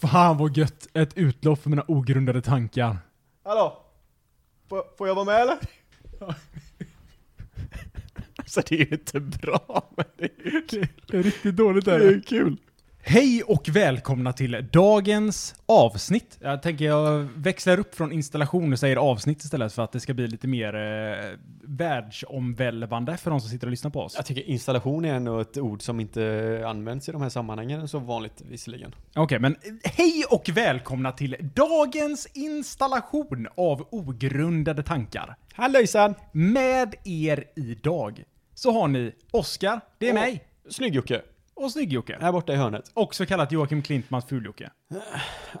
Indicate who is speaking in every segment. Speaker 1: Fan vad gött! Ett utlopp för mina ogrundade tankar.
Speaker 2: Hallå? Får, får jag vara med eller?
Speaker 3: Alltså det är ju inte bra, men det är ju kul.
Speaker 1: Det är riktigt dåligt
Speaker 3: Det är ju kul.
Speaker 1: Hej och välkomna till dagens avsnitt. Jag tänker jag växlar upp från installation och säger avsnitt istället för att det ska bli lite mer eh, världsomvälvande för de som sitter och lyssnar på oss.
Speaker 3: Jag tycker installation är ändå ett ord som inte används i de här sammanhangen så vanligt visserligen.
Speaker 1: Okej, men hej och välkomna till dagens installation av ogrundade tankar.
Speaker 3: Hallöjsan!
Speaker 1: Med er idag så har ni Oskar, det är
Speaker 3: Och-
Speaker 1: mig,
Speaker 3: Snygg Jocke.
Speaker 1: och Snygg-Jocke.
Speaker 3: Här borta i hörnet.
Speaker 1: Också kallat Joakim Klintmans Ful-Jocke.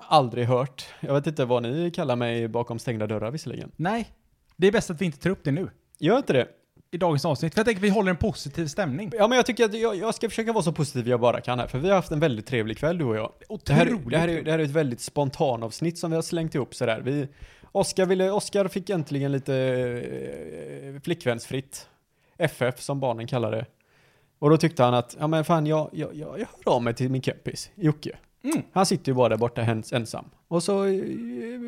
Speaker 3: Aldrig hört. Jag vet inte vad ni kallar mig bakom stängda dörrar visserligen.
Speaker 1: Nej, det är bäst att vi inte tar upp det nu.
Speaker 3: Gör inte det.
Speaker 1: I dagens avsnitt, för jag tänker att vi håller en positiv stämning.
Speaker 3: Ja men jag tycker att jag, jag ska försöka vara så positiv jag bara kan här, för vi har haft en väldigt trevlig kväll du och jag. Det här, det här, är, det här är ett väldigt spontan avsnitt som vi har slängt ihop sådär. Vi, Oskar, ville, Oskar fick äntligen lite eh, flickvänsfritt. FF som barnen kallar det. Och då tyckte han att, ja men fan jag, jag, jag, jag hör av mig till min kompis Jocke.
Speaker 1: Mm.
Speaker 3: Han sitter ju bara där borta hens, ensam. Och så eh,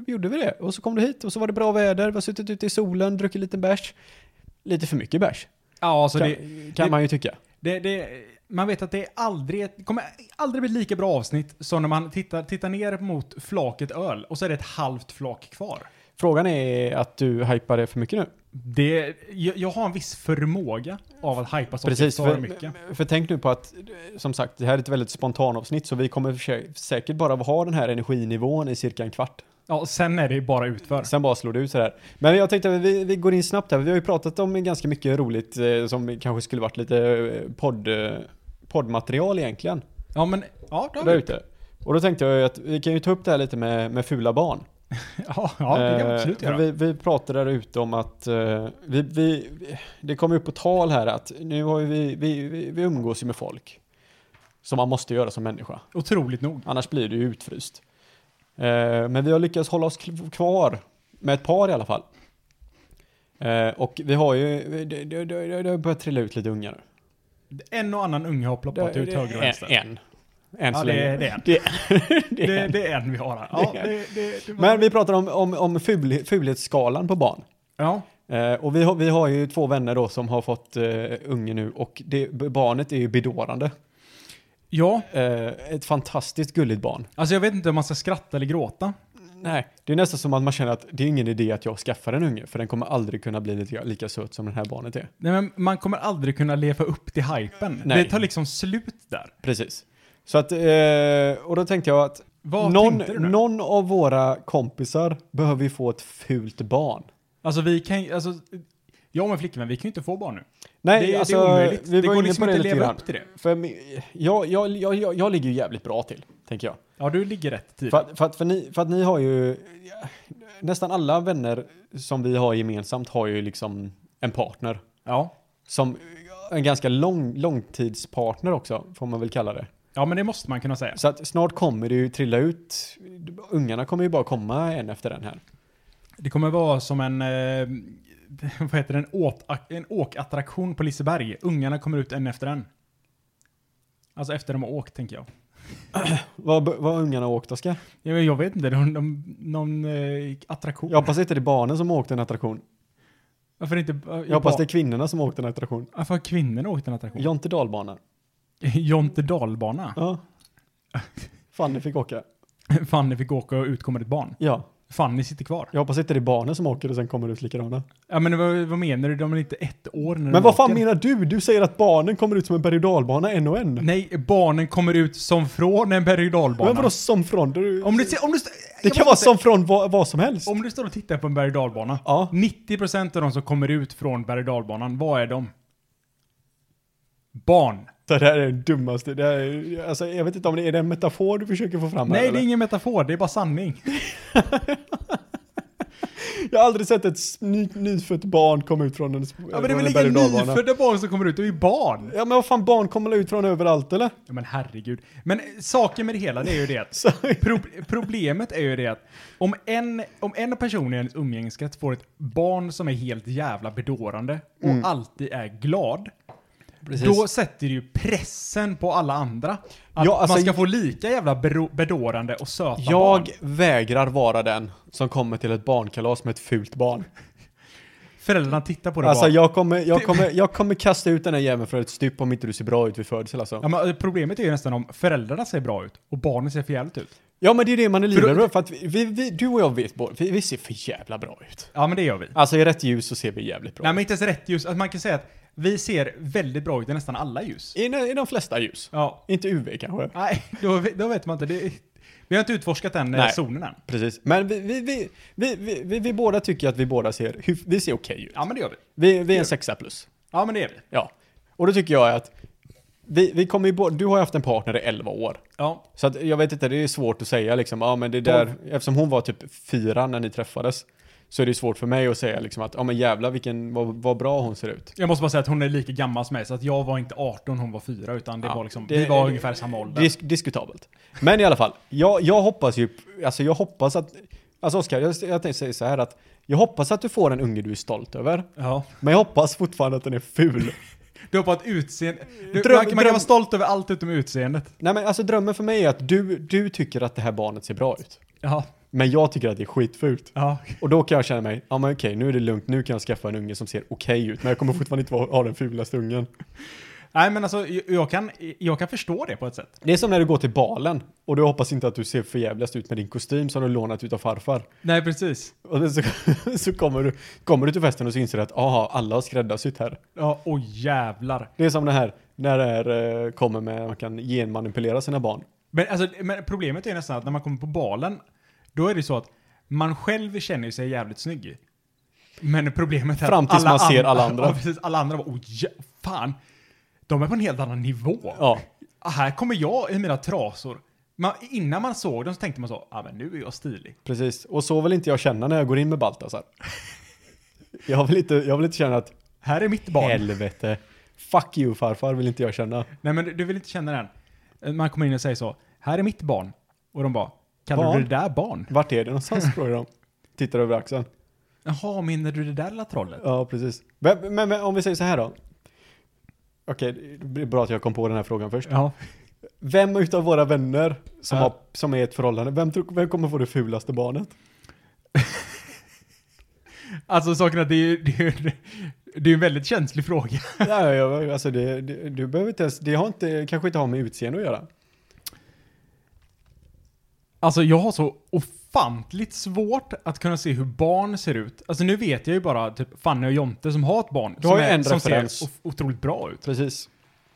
Speaker 3: gjorde vi det. Och så kom du hit och så var det bra väder, vi har suttit ute i solen, druckit lite bärs. Lite för mycket bärs,
Speaker 1: Ja, alltså
Speaker 3: kan,
Speaker 1: det,
Speaker 3: kan
Speaker 1: det-
Speaker 3: man ju tycka.
Speaker 1: det, det, man vet att det är aldrig, ett- det kommer aldrig bli ett lika bra avsnitt som när man tittar, tittar ner mot flaket öl och så är det ett halvt flak kvar.
Speaker 3: Frågan är att du hypar det för mycket nu.
Speaker 1: Det, jag, jag har en viss förmåga av att hypa saker
Speaker 3: Precis,
Speaker 1: för
Speaker 3: för,
Speaker 1: mycket.
Speaker 3: för tänk nu på att, eh, som sagt, det här är ett väldigt spontan avsnitt så vi kommer försä- säkert bara ha den här energinivån i cirka en kvart.
Speaker 1: Ja, sen är det ju bara utför.
Speaker 3: Sen bara slår det ut så här. Men jag tänkte, vi, vi går in snabbt här, vi har ju pratat om ganska mycket roligt eh, som kanske skulle varit lite eh, podd, eh, poddmaterial egentligen,
Speaker 1: Ja, men... Ja, det har
Speaker 3: där
Speaker 1: vi.
Speaker 3: ute. Och då tänkte jag ju att vi kan ju ta upp det här lite med, med fula barn.
Speaker 1: Ja, ja, det kan vi
Speaker 3: Eh,
Speaker 1: absolut
Speaker 3: för
Speaker 1: göra.
Speaker 3: Vi, vi pratade där ute om att eh, vi, vi, vi- det kom upp på tal här att nu har ju vi, vi, vi, vi umgås ju med folk som man måste göra som människa.
Speaker 1: Otroligt nog.
Speaker 3: Annars blir du ju utfryst. Eh, men vi har lyckats hålla oss kl- kvar med ett par i alla fall. Eh, och vi har ju, det, det, det, det har börjat trilla ut lite ungar nu.
Speaker 1: En och annan unge har ploppat
Speaker 3: Det-
Speaker 1: ut
Speaker 3: det-
Speaker 1: höger och vänster.
Speaker 3: En. en. Än
Speaker 1: Ja,
Speaker 3: så
Speaker 1: det,
Speaker 3: länge.
Speaker 1: är- det är en.
Speaker 3: Det- det är
Speaker 1: Det,
Speaker 3: en.
Speaker 1: det är en vi har här. Ja,
Speaker 3: Det
Speaker 1: det,
Speaker 3: är en.
Speaker 1: det, det, var-
Speaker 3: Men vi pratar om, om, om ful, fulhetsskalan på barn.
Speaker 1: ja.
Speaker 3: Eh, och vi har, vi har ju två vänner då som har fått eh, unge nu och det, b- barnet är ju bedårande.
Speaker 1: ja,
Speaker 3: Eh, ett fantastiskt gulligt barn.
Speaker 1: alltså jag vet inte om man ska skratta eller gråta.
Speaker 3: Nej, det är nästan som att man känner att det är ingen idé att jag skaffar en unge för den kommer aldrig kunna bli lika, lika söt som det här barnet är.
Speaker 1: Nej, men man kommer aldrig kunna leva upp till hypen.
Speaker 3: Nej.
Speaker 1: Det tar liksom slut där.
Speaker 3: Precis. Så att, eh, och då tänkte jag att
Speaker 1: Vad
Speaker 3: någon,
Speaker 1: tänkte du nu?
Speaker 3: någon av våra kompisar behöver ju få ett fult barn.
Speaker 1: Alltså vi kan alltså, jag och min flickvän, vi kan ju inte få barn nu.
Speaker 3: Nej,
Speaker 1: det, det är
Speaker 3: alltså,
Speaker 1: omöjligt.
Speaker 3: vi
Speaker 1: det
Speaker 3: var
Speaker 1: går
Speaker 3: inne
Speaker 1: liksom
Speaker 3: på det
Speaker 1: inte
Speaker 3: lite
Speaker 1: leva
Speaker 3: grann.
Speaker 1: upp till det.
Speaker 3: För min- jag, jag, jag, jag, jag ligger ju jävligt bra till, tänker jag.
Speaker 1: Ja, du ligger rätt typ. tid.
Speaker 3: För att, för, att, för, ni, för att ni har ju, nästan alla vänner som vi har gemensamt har ju liksom en partner.
Speaker 1: Ja.
Speaker 3: Som en ganska lång, långtidspartner också, får man väl kalla det.
Speaker 1: ja, men det måste man kunna säga.
Speaker 3: Så att snart kommer det ju trilla ut, ungarna kommer ju bara komma en efter den här.
Speaker 1: Det kommer vara som en, eh, vad heter det, en, åt, en åkattraktion på Liseberg. Ungarna kommer ut en efter en. Alltså efter de har åkt, tänker jag.
Speaker 3: Vad vad har ungarna åkt, Oskar?
Speaker 1: Jag, jag vet inte, de, de, någon eh, attraktion.
Speaker 3: Jag hoppas inte det är barnen som har åkt en attraktion.
Speaker 1: Varför inte? eh,
Speaker 3: Jag hoppas
Speaker 1: ba-
Speaker 3: det är kvinnorna som har åkt en attraktion.
Speaker 1: Varför har kvinnorna åkt en attraktion?
Speaker 3: Jonte dalbana.
Speaker 1: Jonte dalbana.
Speaker 3: Ja. Fanny fick åka.
Speaker 1: Fanny fick åka och ut kommer ett barn.
Speaker 3: Ja.
Speaker 1: Fanny sitter kvar.
Speaker 3: Jag hoppas inte det är barnen som åker och sen kommer det ut likadana.
Speaker 1: Ja men vad, vad menar du? De är inte ett år när de
Speaker 3: Men vad fan
Speaker 1: åker.
Speaker 3: menar du? Du säger att barnen kommer ut som en berg och dalbana en och en.
Speaker 1: Nej, barnen kommer ut som från en berg och
Speaker 3: Men vadå
Speaker 1: dalbana.
Speaker 3: som från? Du,
Speaker 1: Om du, ser- om du, st-
Speaker 3: det
Speaker 1: jag
Speaker 3: kan vara
Speaker 1: måste-
Speaker 3: som från vad, vad som helst.
Speaker 1: Om du står och tittar på en berg och dalbana.
Speaker 3: Ja.
Speaker 1: 90% av de som kommer ut från berg och dalbanan, vad är de? Barn.
Speaker 3: Det där är det dummaste. Det är, alltså, jag vet inte om det är det en metafor du försöker få fram här,
Speaker 1: Nej, det
Speaker 3: eller?
Speaker 1: är ingen metafor, det är bara sanning.
Speaker 3: Jag har aldrig sett ett s- ny, nyfött barn komma ut från en, sp-
Speaker 1: Ja, men
Speaker 3: från
Speaker 1: det är
Speaker 3: en
Speaker 1: väl inga
Speaker 3: berg- och dalbana.
Speaker 1: nyfödda barn som kommer ut, det är ju barn.
Speaker 3: Ja men vad fan, barn kommer väl ut från överallt eller?
Speaker 1: Ja, men herregud. Men eh, saken med det hela, det är ju det att
Speaker 3: Så,
Speaker 1: pro- problemet är ju det att om en, om en person i ens umgängeskrets får ett barn som är helt jävla bedårande och alltid är glad,
Speaker 3: Mm. Precis.
Speaker 1: Då sätter du ju pressen på alla andra. Att
Speaker 3: Ja, alltså-
Speaker 1: man ska få lika jävla bero- bedårande och söta barn.
Speaker 3: jag vägrar vara den som kommer till ett barnkalas med ett fult barn.
Speaker 1: Föräldrarna tittar på det
Speaker 3: Alltså
Speaker 1: bara.
Speaker 3: jag kommer, jag, kommer, jag kommer kasta ut den här jäveln från ett stup om inte du ser bra ut vid födsel
Speaker 1: Ja,
Speaker 3: alltså.
Speaker 1: men problemet är ju nästan om föräldrarna ser bra ut och barnen ser för jävligt ut.
Speaker 3: Ja men det är det man är
Speaker 1: För-
Speaker 3: livrädd för, för att vi- vi, vi, du och jag vet båda, vi, vi ser för jävla bra ut.
Speaker 1: Ja, men det gör vi.
Speaker 3: Alltså i rätt ljus så ser vi jävligt bra
Speaker 1: Nej,
Speaker 3: ut.
Speaker 1: men inte ens rätt ljus. Alltså, man kan säga att vi ser väldigt bra ut i nästan alla ljus.
Speaker 3: I, de- I de flesta ljus.
Speaker 1: Ja.
Speaker 3: Inte UV kanske.
Speaker 1: Nej, då, då vet man inte. Det, vi har inte utforskat den Nej.
Speaker 3: Nej.
Speaker 1: zonen än.
Speaker 3: Precis. Men vi, vi, vi, vi, vi, vi, vi båda tycker att vi båda ser, hyf- vi ser okej ut.
Speaker 1: Ja, men det gör vi.
Speaker 3: Vi, vi är en sexa plus.
Speaker 1: Ja, men det är vi.
Speaker 3: Ja. Och då tycker jag att vi, vi kommer ju bo- du har ju haft en partner i 11 år.
Speaker 1: Ja.
Speaker 3: Så att, jag vet inte, det är svårt att säga liksom, ja men det där, eftersom hon var typ fyra när ni träffades, så är det svårt för mig att säga liksom att, ja men jävla vilken, vad, vad bra hon ser ut.
Speaker 1: Jag måste bara säga att hon är lika gammal som mig, så att jag var inte 18, hon var 4, utan det
Speaker 3: Ja,
Speaker 1: var liksom,
Speaker 3: det-
Speaker 1: vi var
Speaker 3: det-
Speaker 1: ungefär samma ålder.
Speaker 3: Dis diskutabelt. Men i alla fall, jag, jag hoppas ju, alltså jag hoppas att, alltså Oskar, jag, jag tänkte säga så här att, jag hoppas att du får en unge du är stolt över,
Speaker 1: ja.
Speaker 3: men jag hoppas fortfarande att den är ful.
Speaker 1: Du har på ett utseende. Du, man,
Speaker 3: Dröm-
Speaker 1: man kan
Speaker 3: dröm-
Speaker 1: vara stolt över allt utom utseendet.
Speaker 3: Nej men alltså drömmen för mig är att du, du tycker att det här barnet ser bra ut.
Speaker 1: Ja.
Speaker 3: Men jag tycker att det är skitfult.
Speaker 1: Ja.
Speaker 3: Och då kan jag känna mig, ja men okej, nu är det lugnt, nu kan jag skaffa en unge som ser okej ut, men jag kommer fortfarande inte vara- ha den fulaste ungen.
Speaker 1: Nej, men alltså, jag- jag kan, jag kan förstå det på ett sätt.
Speaker 3: Det är som när du går till balen och du hoppas inte att du ser förjävligast ut med din kostym som du lånat ut av farfar.
Speaker 1: Nej, precis.
Speaker 3: Och så, så kommer, du, kommer du till festen och så inser du att, aha, alla har skräddarsytt här.
Speaker 1: Ja, och jävlar.
Speaker 3: Det är som det här, när det här eh, kommer med, man kan genmanipulera sina barn.
Speaker 1: Men, alltså, men problemet är nästan att när man kommer på balen, då är det så att man själv känner sig jävligt snygg. Men problemet är
Speaker 3: Fram
Speaker 1: att
Speaker 3: tills man ser
Speaker 1: an-
Speaker 3: alla andra.
Speaker 1: Ja, precis, alla andra bara, oh, ja, fan. De är på en helt annan nivå.
Speaker 3: Ja,
Speaker 1: Ah, Här kommer jag i mina trasor. Man, innan man såg dem så tänkte man så, ah, men nu är jag stilig.
Speaker 3: precis. Och så vill inte jag känna när jag går in med Baltasar. Jag vill inte, jag vill inte känna att,
Speaker 1: Här är mitt barn.
Speaker 3: helvete, fuck you farfar, vill inte jag känna.
Speaker 1: Nej men du- du vill inte känna den. Man kommer in och säger så, här är mitt barn. Och de bara, kallar
Speaker 3: Barn?
Speaker 1: du det där barn?
Speaker 3: Vart är det någonstans? frågar de. Tittar över axeln.
Speaker 1: Jaha, menar du det där lilla trollet?
Speaker 3: Ja, precis. Men, men, men om vi säger så här då. Okej, det är bra att jag kom på den här frågan först.
Speaker 1: Ja.
Speaker 3: Vem utav våra vänner som,
Speaker 1: Ja.
Speaker 3: har, som är i ett förhållande, vem, tror- vem kommer få det fulaste barnet?
Speaker 1: Alltså saken är att det är ju det är, ju- det är ju en väldigt känslig fråga.
Speaker 3: ja, ja, ja, alltså det, det, du behöver inte ens, det har inte, kanske inte har med utseende att göra.
Speaker 1: Alltså jag har så ofantligt svårt att kunna se hur barn ser ut. Alltså nu vet jag ju bara typ Fanny och Jonte som har ett barn
Speaker 3: Du
Speaker 1: som,
Speaker 3: har ju en
Speaker 1: som ser
Speaker 3: referens.
Speaker 1: of- otroligt bra ut.
Speaker 3: Precis.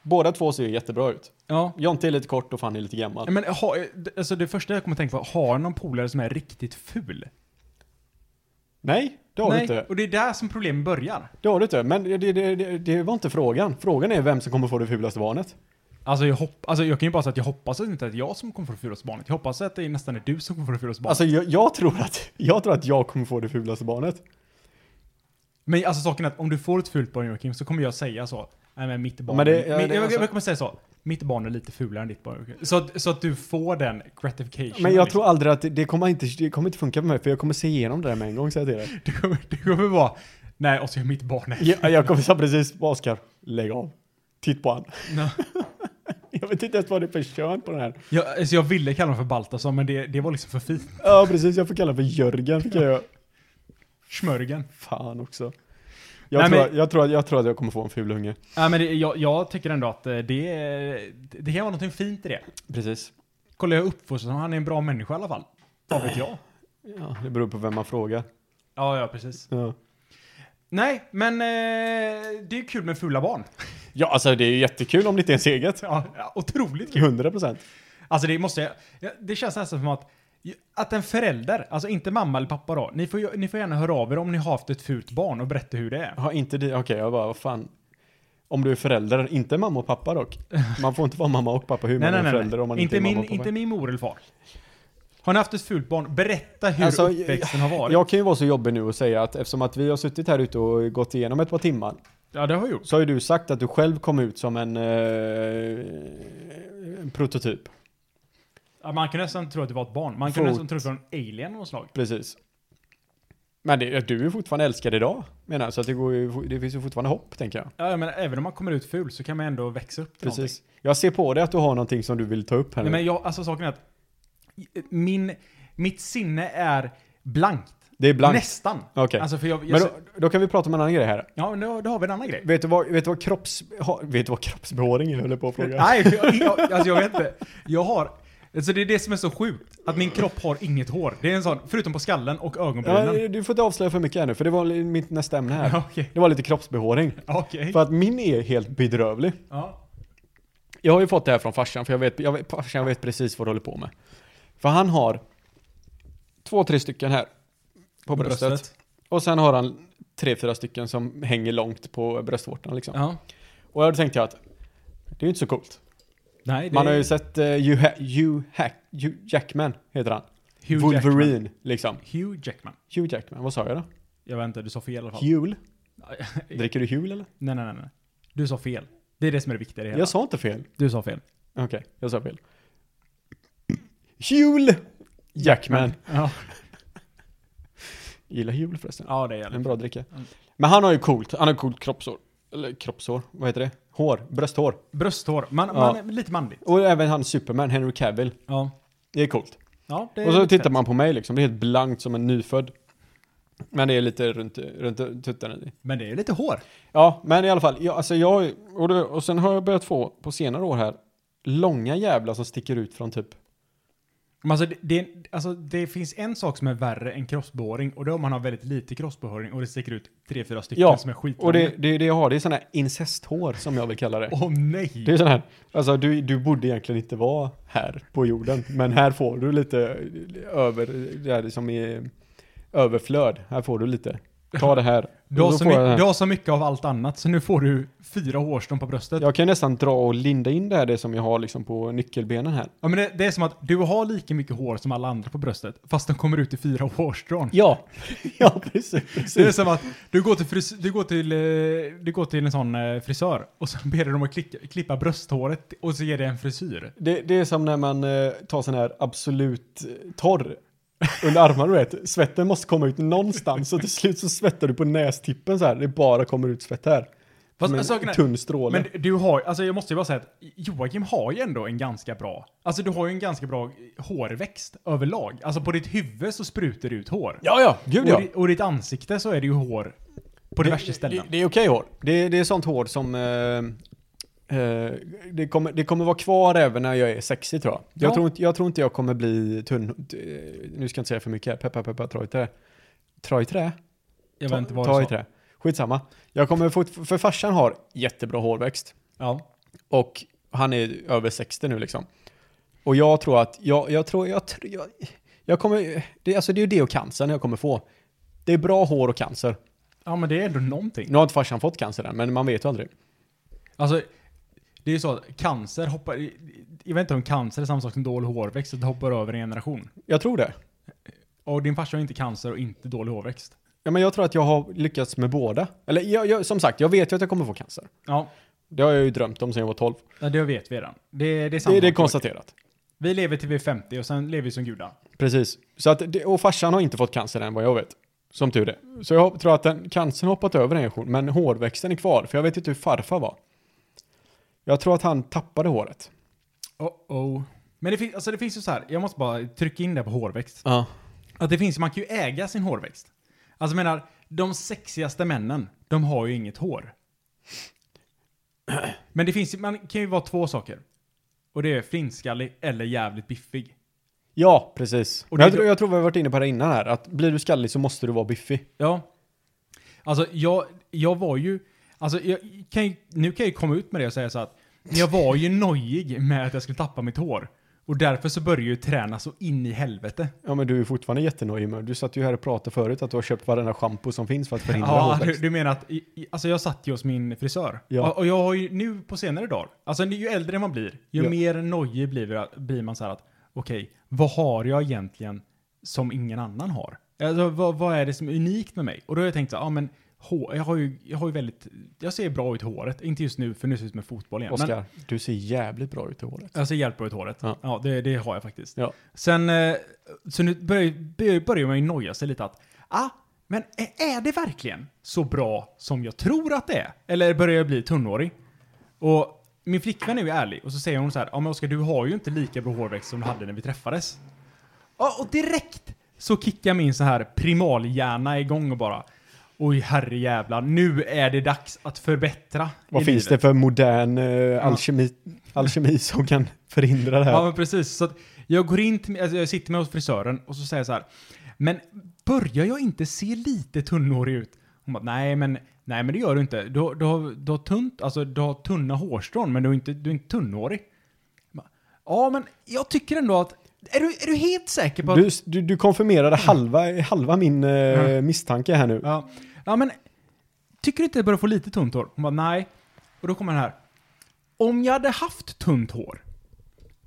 Speaker 3: Båda två ser ju jättebra ut.
Speaker 1: Ja.
Speaker 3: Jonte är lite kort och Fanny är lite gammal.
Speaker 1: Men ha, alltså det första jag kommer tänka på, har jag någon polare som är riktigt ful?
Speaker 3: Nej, det har
Speaker 1: Nej,
Speaker 3: du inte.
Speaker 1: och det är där som problemen börjar.
Speaker 3: Det har du inte. Men det, det, det, det var inte frågan. Frågan är vem som kommer få det fulaste barnet.
Speaker 1: Alltså jag, hopp, alltså jag kan ju bara säga att jag hoppas att det inte är jag som kommer få det fulaste barnet. Jag hoppas att det nästan är du som kommer få det fulaste barnet.
Speaker 3: Alltså jag, jag, tror att, jag tror att jag kommer få det fulaste barnet.
Speaker 1: men alltså saken är att om du får ett fult barn Joakim så kommer jag säga så. Nej men mitt barn.
Speaker 3: Men det- ja,
Speaker 1: min,
Speaker 3: det-
Speaker 1: jag,
Speaker 3: alltså-
Speaker 1: jag kommer säga så. Mitt barn är lite fulare än ditt barn Joakim. Så att, så att du får den gratification.
Speaker 3: Men jag
Speaker 1: liksom.
Speaker 3: tror aldrig att det, det, kommer inte, det kommer inte funka med mig för jag kommer se igenom det där med en gång säger jag till dig.
Speaker 1: Du kommer, du kommer vara, nej och så är mitt barn är.
Speaker 3: Jag, jag kommer säga precis, Oskar, lägg av. Titt på han.
Speaker 1: Nej.
Speaker 3: Jag vet inte ens vad det är för kön på den här.
Speaker 1: Jag, alltså jag ville kalla honom för Baltasar men det, det var liksom för fint.
Speaker 3: Ja precis, jag får kalla för Jörgen fick jag göra.
Speaker 1: Smörgen.
Speaker 3: Fan också. Jag,
Speaker 1: Nej,
Speaker 3: tror,
Speaker 1: men-
Speaker 3: jag, tror, att- jag tror att jag kommer få en ful unge.
Speaker 1: Nej men det, jag, jag tycker ändå att eh, det, är- det kan vara något fint i det.
Speaker 3: Precis.
Speaker 1: Kollar jag uppfostran, han är en bra människa i alla fall. Vad vet jag?
Speaker 3: Ja, det beror på vem man frågar.
Speaker 1: Ja, ja precis.
Speaker 3: Ja,
Speaker 1: Nej, men eh, det är kul med fula barn.
Speaker 3: ja alltså det är ju jättekul om det inte är ens eget.
Speaker 1: Ja, ja, otroligt kul.
Speaker 3: 100%.
Speaker 1: Alltså det måste jag, ja, det känns nästan som att, att en förälder, alltså inte mamma eller pappa då, ni får, ju- ni får gärna höra av er om ni har haft ett fult barn och berätta hur det är.
Speaker 3: Ja, inte det. Okej, jag bara, vad fan. Om du är förälder, inte mamma och pappa dock. Man får inte vara mamma och pappa hur man är förälder om man inte, är
Speaker 1: Inte,
Speaker 3: mamma
Speaker 1: min,
Speaker 3: och pappa.
Speaker 1: inte min mor eller far. Har ni haft ett fult barn, berätta hur
Speaker 3: Alltså,
Speaker 1: uppväxten har varit.
Speaker 3: Jag kan ju vara så jobbig nu och säga att eftersom att vi har suttit här ute och gått igenom ett par timmar
Speaker 1: ja, det har jag gjort.
Speaker 3: så har ju du sagt att du själv kom ut som en, eh, en prototyp.
Speaker 1: Ja, Man kan nästan tro att det var ett barn. Man kan
Speaker 3: Fot.
Speaker 1: nästan tro att det var en alien av något slag.
Speaker 3: Precis. Men det, du är fortfarande älskad idag, menar jag. Så att det, går ju, det finns ju fortfarande hopp, tänker jag.
Speaker 1: Ja, men även om man kommer ut ful så kan man ändå växa upp till någonting.
Speaker 3: Precis. Jag ser på dig att du har någonting som du vill ta upp här
Speaker 1: Nej,
Speaker 3: nu.
Speaker 1: men jag, alltså saken är att min, mitt sinne är blankt.
Speaker 3: Det är blankt.
Speaker 1: Nästan.
Speaker 3: Okej.
Speaker 1: Alltså för jag, jag,
Speaker 3: Men då, då kan vi prata om en annan grej här.
Speaker 1: ja, men då, då har vi en annan grej.
Speaker 3: Vet du vad, vet du vad, kropps, ha, vet du vad kroppsbehåring är, höll jag på att fråga?
Speaker 1: Nej, jag, jag, alltså jag vet inte. Jag har... Alltså det är det som är så sjukt. Att min kropp har inget hår. Det är en sån, förutom på skallen och ögonbrynen.
Speaker 3: Ja, du får inte avslöja för mycket här nu, för det var li- mitt nästa ämne här.
Speaker 1: Ja, okej.
Speaker 3: Det var lite kroppsbehåring.
Speaker 1: Okej.
Speaker 3: För att min är helt bedrövlig.
Speaker 1: Ja.
Speaker 3: Jag har ju fått det här från farsan, för jag vet, jag vet, farsan vet precis vad du håller på med. För han har två, tre stycken här på bröstet. Och sen har han tre, fyra stycken som hänger långt på bröstvårtan liksom.
Speaker 1: Ja.
Speaker 3: Och då tänkte jag att det är ju inte så coolt.
Speaker 1: Nej, det
Speaker 3: Man har ju sett uh, Hugh, ha- Hugh, Hack, Hugh Jackman, heter han.
Speaker 1: Hugh
Speaker 3: Wolverine,
Speaker 1: Jackman.
Speaker 3: liksom.
Speaker 1: Hugh Jackman.
Speaker 3: Hugh Jackman, vad sa jag då?
Speaker 1: Jag vet inte, du sa fel i alla fall.
Speaker 3: Hul? Dricker du Hul eller?
Speaker 1: Nej, nej, nej, nej. Du sa fel. Det är det som är det viktiga i det hela.
Speaker 3: Jag sa inte fel.
Speaker 1: Du sa fel.
Speaker 3: Okej, jag sa fel. Hul Jackman.
Speaker 1: Ja,
Speaker 3: Gillar Hul förresten.
Speaker 1: ja det är
Speaker 3: En
Speaker 1: det.
Speaker 3: bra dricka.
Speaker 1: Mm.
Speaker 3: Men han har ju coolt, han har coolt kroppshår. Eller kroppshår, vad heter det? Hår, brösthår.
Speaker 1: Brösthår. Man,
Speaker 3: Ja.
Speaker 1: man är lite manlig.
Speaker 3: Och även han Superman, Henry Cavill.
Speaker 1: Ja.
Speaker 3: Det är coolt.
Speaker 1: ja det är
Speaker 3: Och så
Speaker 1: lite
Speaker 3: tittar
Speaker 1: fett.
Speaker 3: man på mig liksom, det är helt blankt som en nyfödd. Men det är lite runt, runt tuttarna. i.
Speaker 1: Men det är lite hår.
Speaker 3: Ja, men i alla fall. Jag, alltså jag, och, det, och sen har jag börjat få, på senare år här, långa jävlar som sticker ut från typ...
Speaker 1: Men alltså, det- det, är- alltså, det finns en sak som är värre än kroppsbehåring och det är om man har väldigt lite kroppsbehåring och det sticker ut tre, fyra stycken
Speaker 3: Ja,
Speaker 1: som är skit.
Speaker 3: Och det är det, är det jag har, det är sådana här incesthår som jag vill kalla det.
Speaker 1: Åh nej!
Speaker 3: Det är sådana här, alltså du, du borde egentligen inte vara här på jorden, men här får du lite över, det här som är överflöd. Här får du lite. Ta det här.
Speaker 1: du, har
Speaker 3: Och då
Speaker 1: så
Speaker 3: får jag det
Speaker 1: my-
Speaker 3: här.
Speaker 1: du har så mycket av allt annat så nu får du fyra hårstrån på bröstet. Ja.
Speaker 3: Jag kan nästan dra och linda in det här, det som jag har liksom på nyckelbenen här.
Speaker 1: men det, det är som att du har lika mycket hår som alla andra på bröstet fast de kommer ut i fyra hårstrån.
Speaker 3: Ja, ja precis.
Speaker 1: Det är
Speaker 3: precis.
Speaker 1: som att du går till, fris- du går till, eh, du går till en sån eh, frisör och så ber du dem att klicka, klippa brösthåret och så ger det en frisyr.
Speaker 3: Det, det är som när man eh, tar sån här absolut eh, torr under armarna, du vet. Svetten måste komma ut någonstans, så till slut så svettar du på nästippen så här. Det bara kommer ut svett här.
Speaker 1: Fast,
Speaker 3: Som
Speaker 1: saken
Speaker 3: en
Speaker 1: är-
Speaker 3: tunn stråle.
Speaker 1: Men du har, alltså jag måste ju bara säga att Joakim har ju ändå en ganska bra, alltså du har ju en ganska bra hårväxt överlag. Alltså på ditt huvud så sprutar det ut hår.
Speaker 3: Ja, ja, eh, gud
Speaker 1: och, di- och ditt ansikte så är det ju hår på diverse ställen.
Speaker 3: Det, det är okej hår. Det, det är sånt hår som... Eh, eh, det, kommer, det kommer vara kvar även när jag är 60 tror jag. Jag,
Speaker 1: Ja.
Speaker 3: tror inte, jag tror inte jag kommer bli tunn... t- eh, Nu ska jag inte säga för mycket här. Peppa, peppa, dra i trä. Dra i trä?
Speaker 1: jag
Speaker 3: Ta,
Speaker 1: vet inte vad
Speaker 3: ta
Speaker 1: du
Speaker 3: i
Speaker 1: sa.
Speaker 3: trä. Skitsamma. Jag kommer fort, för farsan har jättebra hårväxt.
Speaker 1: Ja.
Speaker 3: Och han är över 60 nu liksom. Och jag tror att, jag, jag tror, jag tror, jag, jag kommer, det, alltså det är ju det och cancern jag kommer få. Det är bra hår och cancer.
Speaker 1: ja, men det är ändå någonting.
Speaker 3: Nu har inte farsan fått cancer än, men man vet ju aldrig.
Speaker 1: Alltså, det är ju så att cancer hoppar, jag vet inte om cancer är samma sak som dålig hårväxt, att det hoppar över en generation.
Speaker 3: Jag tror det.
Speaker 1: Och din farsa har inte cancer och inte dålig hårväxt.
Speaker 3: Ja, men jag tror att jag har lyckats med båda. Eller jag, jag, som sagt, jag vet ju att jag kommer få cancer.
Speaker 1: Ja,
Speaker 3: Det har jag ju drömt om sedan jag var 12.
Speaker 1: ja, det vet vi redan. Det, det är samma.
Speaker 3: Det, det är
Speaker 1: sak.
Speaker 3: konstaterat.
Speaker 1: Vi lever till vi är 50 och sen lever vi som gudar.
Speaker 3: Precis. Så att, det- och farsan har inte fått cancer än vad jag vet. Som tur är. Så jag tror att den, cancern har hoppat över en generation, men hårväxten är kvar. För jag vet inte hur farfar var. Jag tror att han tappade håret.
Speaker 1: Oh-oh. Men det, fin- alltså det finns ju så här, jag måste bara trycka in det på hårväxt.
Speaker 3: Ja.
Speaker 1: Att det finns, man kan ju äga sin hårväxt. Alltså jag menar, de sexigaste männen, de har ju inget hår. Men det finns ju- man kan ju vara två saker. Och det är flintskallig eller jävligt biffig.
Speaker 3: Ja, precis.
Speaker 1: Och
Speaker 3: Och
Speaker 1: det-
Speaker 3: jag, tror, jag tror vi har varit inne på det innan här, att blir du skallig så måste du vara biffig.
Speaker 1: Ja. Alltså jag, jag var ju, alltså jag kan ju, nu kan jag ju komma ut med det och säga så att jag var ju nojig med att jag skulle tappa mitt hår. Och därför så började jag ju träna så in i helvete.
Speaker 3: Ja, men du är fortfarande jättenöjd med Du satt ju här och pratade förut att du har köpt varenda shampoo som finns för att förhindra
Speaker 1: Ja, du,
Speaker 3: hårväxt.
Speaker 1: du menar att, i- i- alltså jag satt ju hos min frisör.
Speaker 3: Ja.
Speaker 1: Och, och jag har ju nu på senare dagar, alltså ju äldre man blir, ju
Speaker 3: Ja.
Speaker 1: mer nojig blir, vi- blir man så här att okej, vad har jag egentligen som ingen annan har? Alltså vad, vad är det som är unikt med mig? Och då har jag tänkt så här, ja men hår, jag har ju, jag har ju väldigt, jag ser bra ut i håret, inte just nu för nu ser jag ut som en fotboll igen. alltså,
Speaker 3: Oskar, du ser jävligt bra ut i håret.
Speaker 1: jag ser jävligt bra ut i håret. Ja,
Speaker 3: Ja.
Speaker 1: det, det har jag faktiskt.
Speaker 3: Ja.
Speaker 1: Sen, eh, så nu börjar, börjar man ju noja sig lite att, ah, Men är- är det verkligen så bra som jag tror att det är? Eller börjar jag bli tunnhårig? Och min flickvän är ju ärlig och så säger hon så här, ja men Oskar du har ju inte lika bra hårväxt som du hade när vi träffades. Ja, och direkt så kickar min så här primalhjärna igång och bara, oj herrejävlar, nu är det dags att förbättra.
Speaker 3: Vad
Speaker 1: i
Speaker 3: finns
Speaker 1: livet."
Speaker 3: det för modern eh, alkemi, alkemi som kan förhindra det här?
Speaker 1: Ja, men precis. Så att jag går in till, alltså jag sitter med hos frisören och så säger jag så här. Men börjar jag inte se lite tunnhårig ut? Hon bara, nej men, nej men det gör du inte. Du, har- du, har, du, har, tunt, alltså, du har tunna hårstrån men du är inte, du är inte tunnhårig. Jag bara, Ja men jag tycker ändå att, är du, är du helt säker på att...
Speaker 3: Du, du, du konfirmerade halva, halva min eh, misstanke här nu.
Speaker 1: Ja. ja, men tycker du inte jag börjar få lite tunt hår? Hon bara nej. Och då kommer den här. Om jag hade haft tunt hår,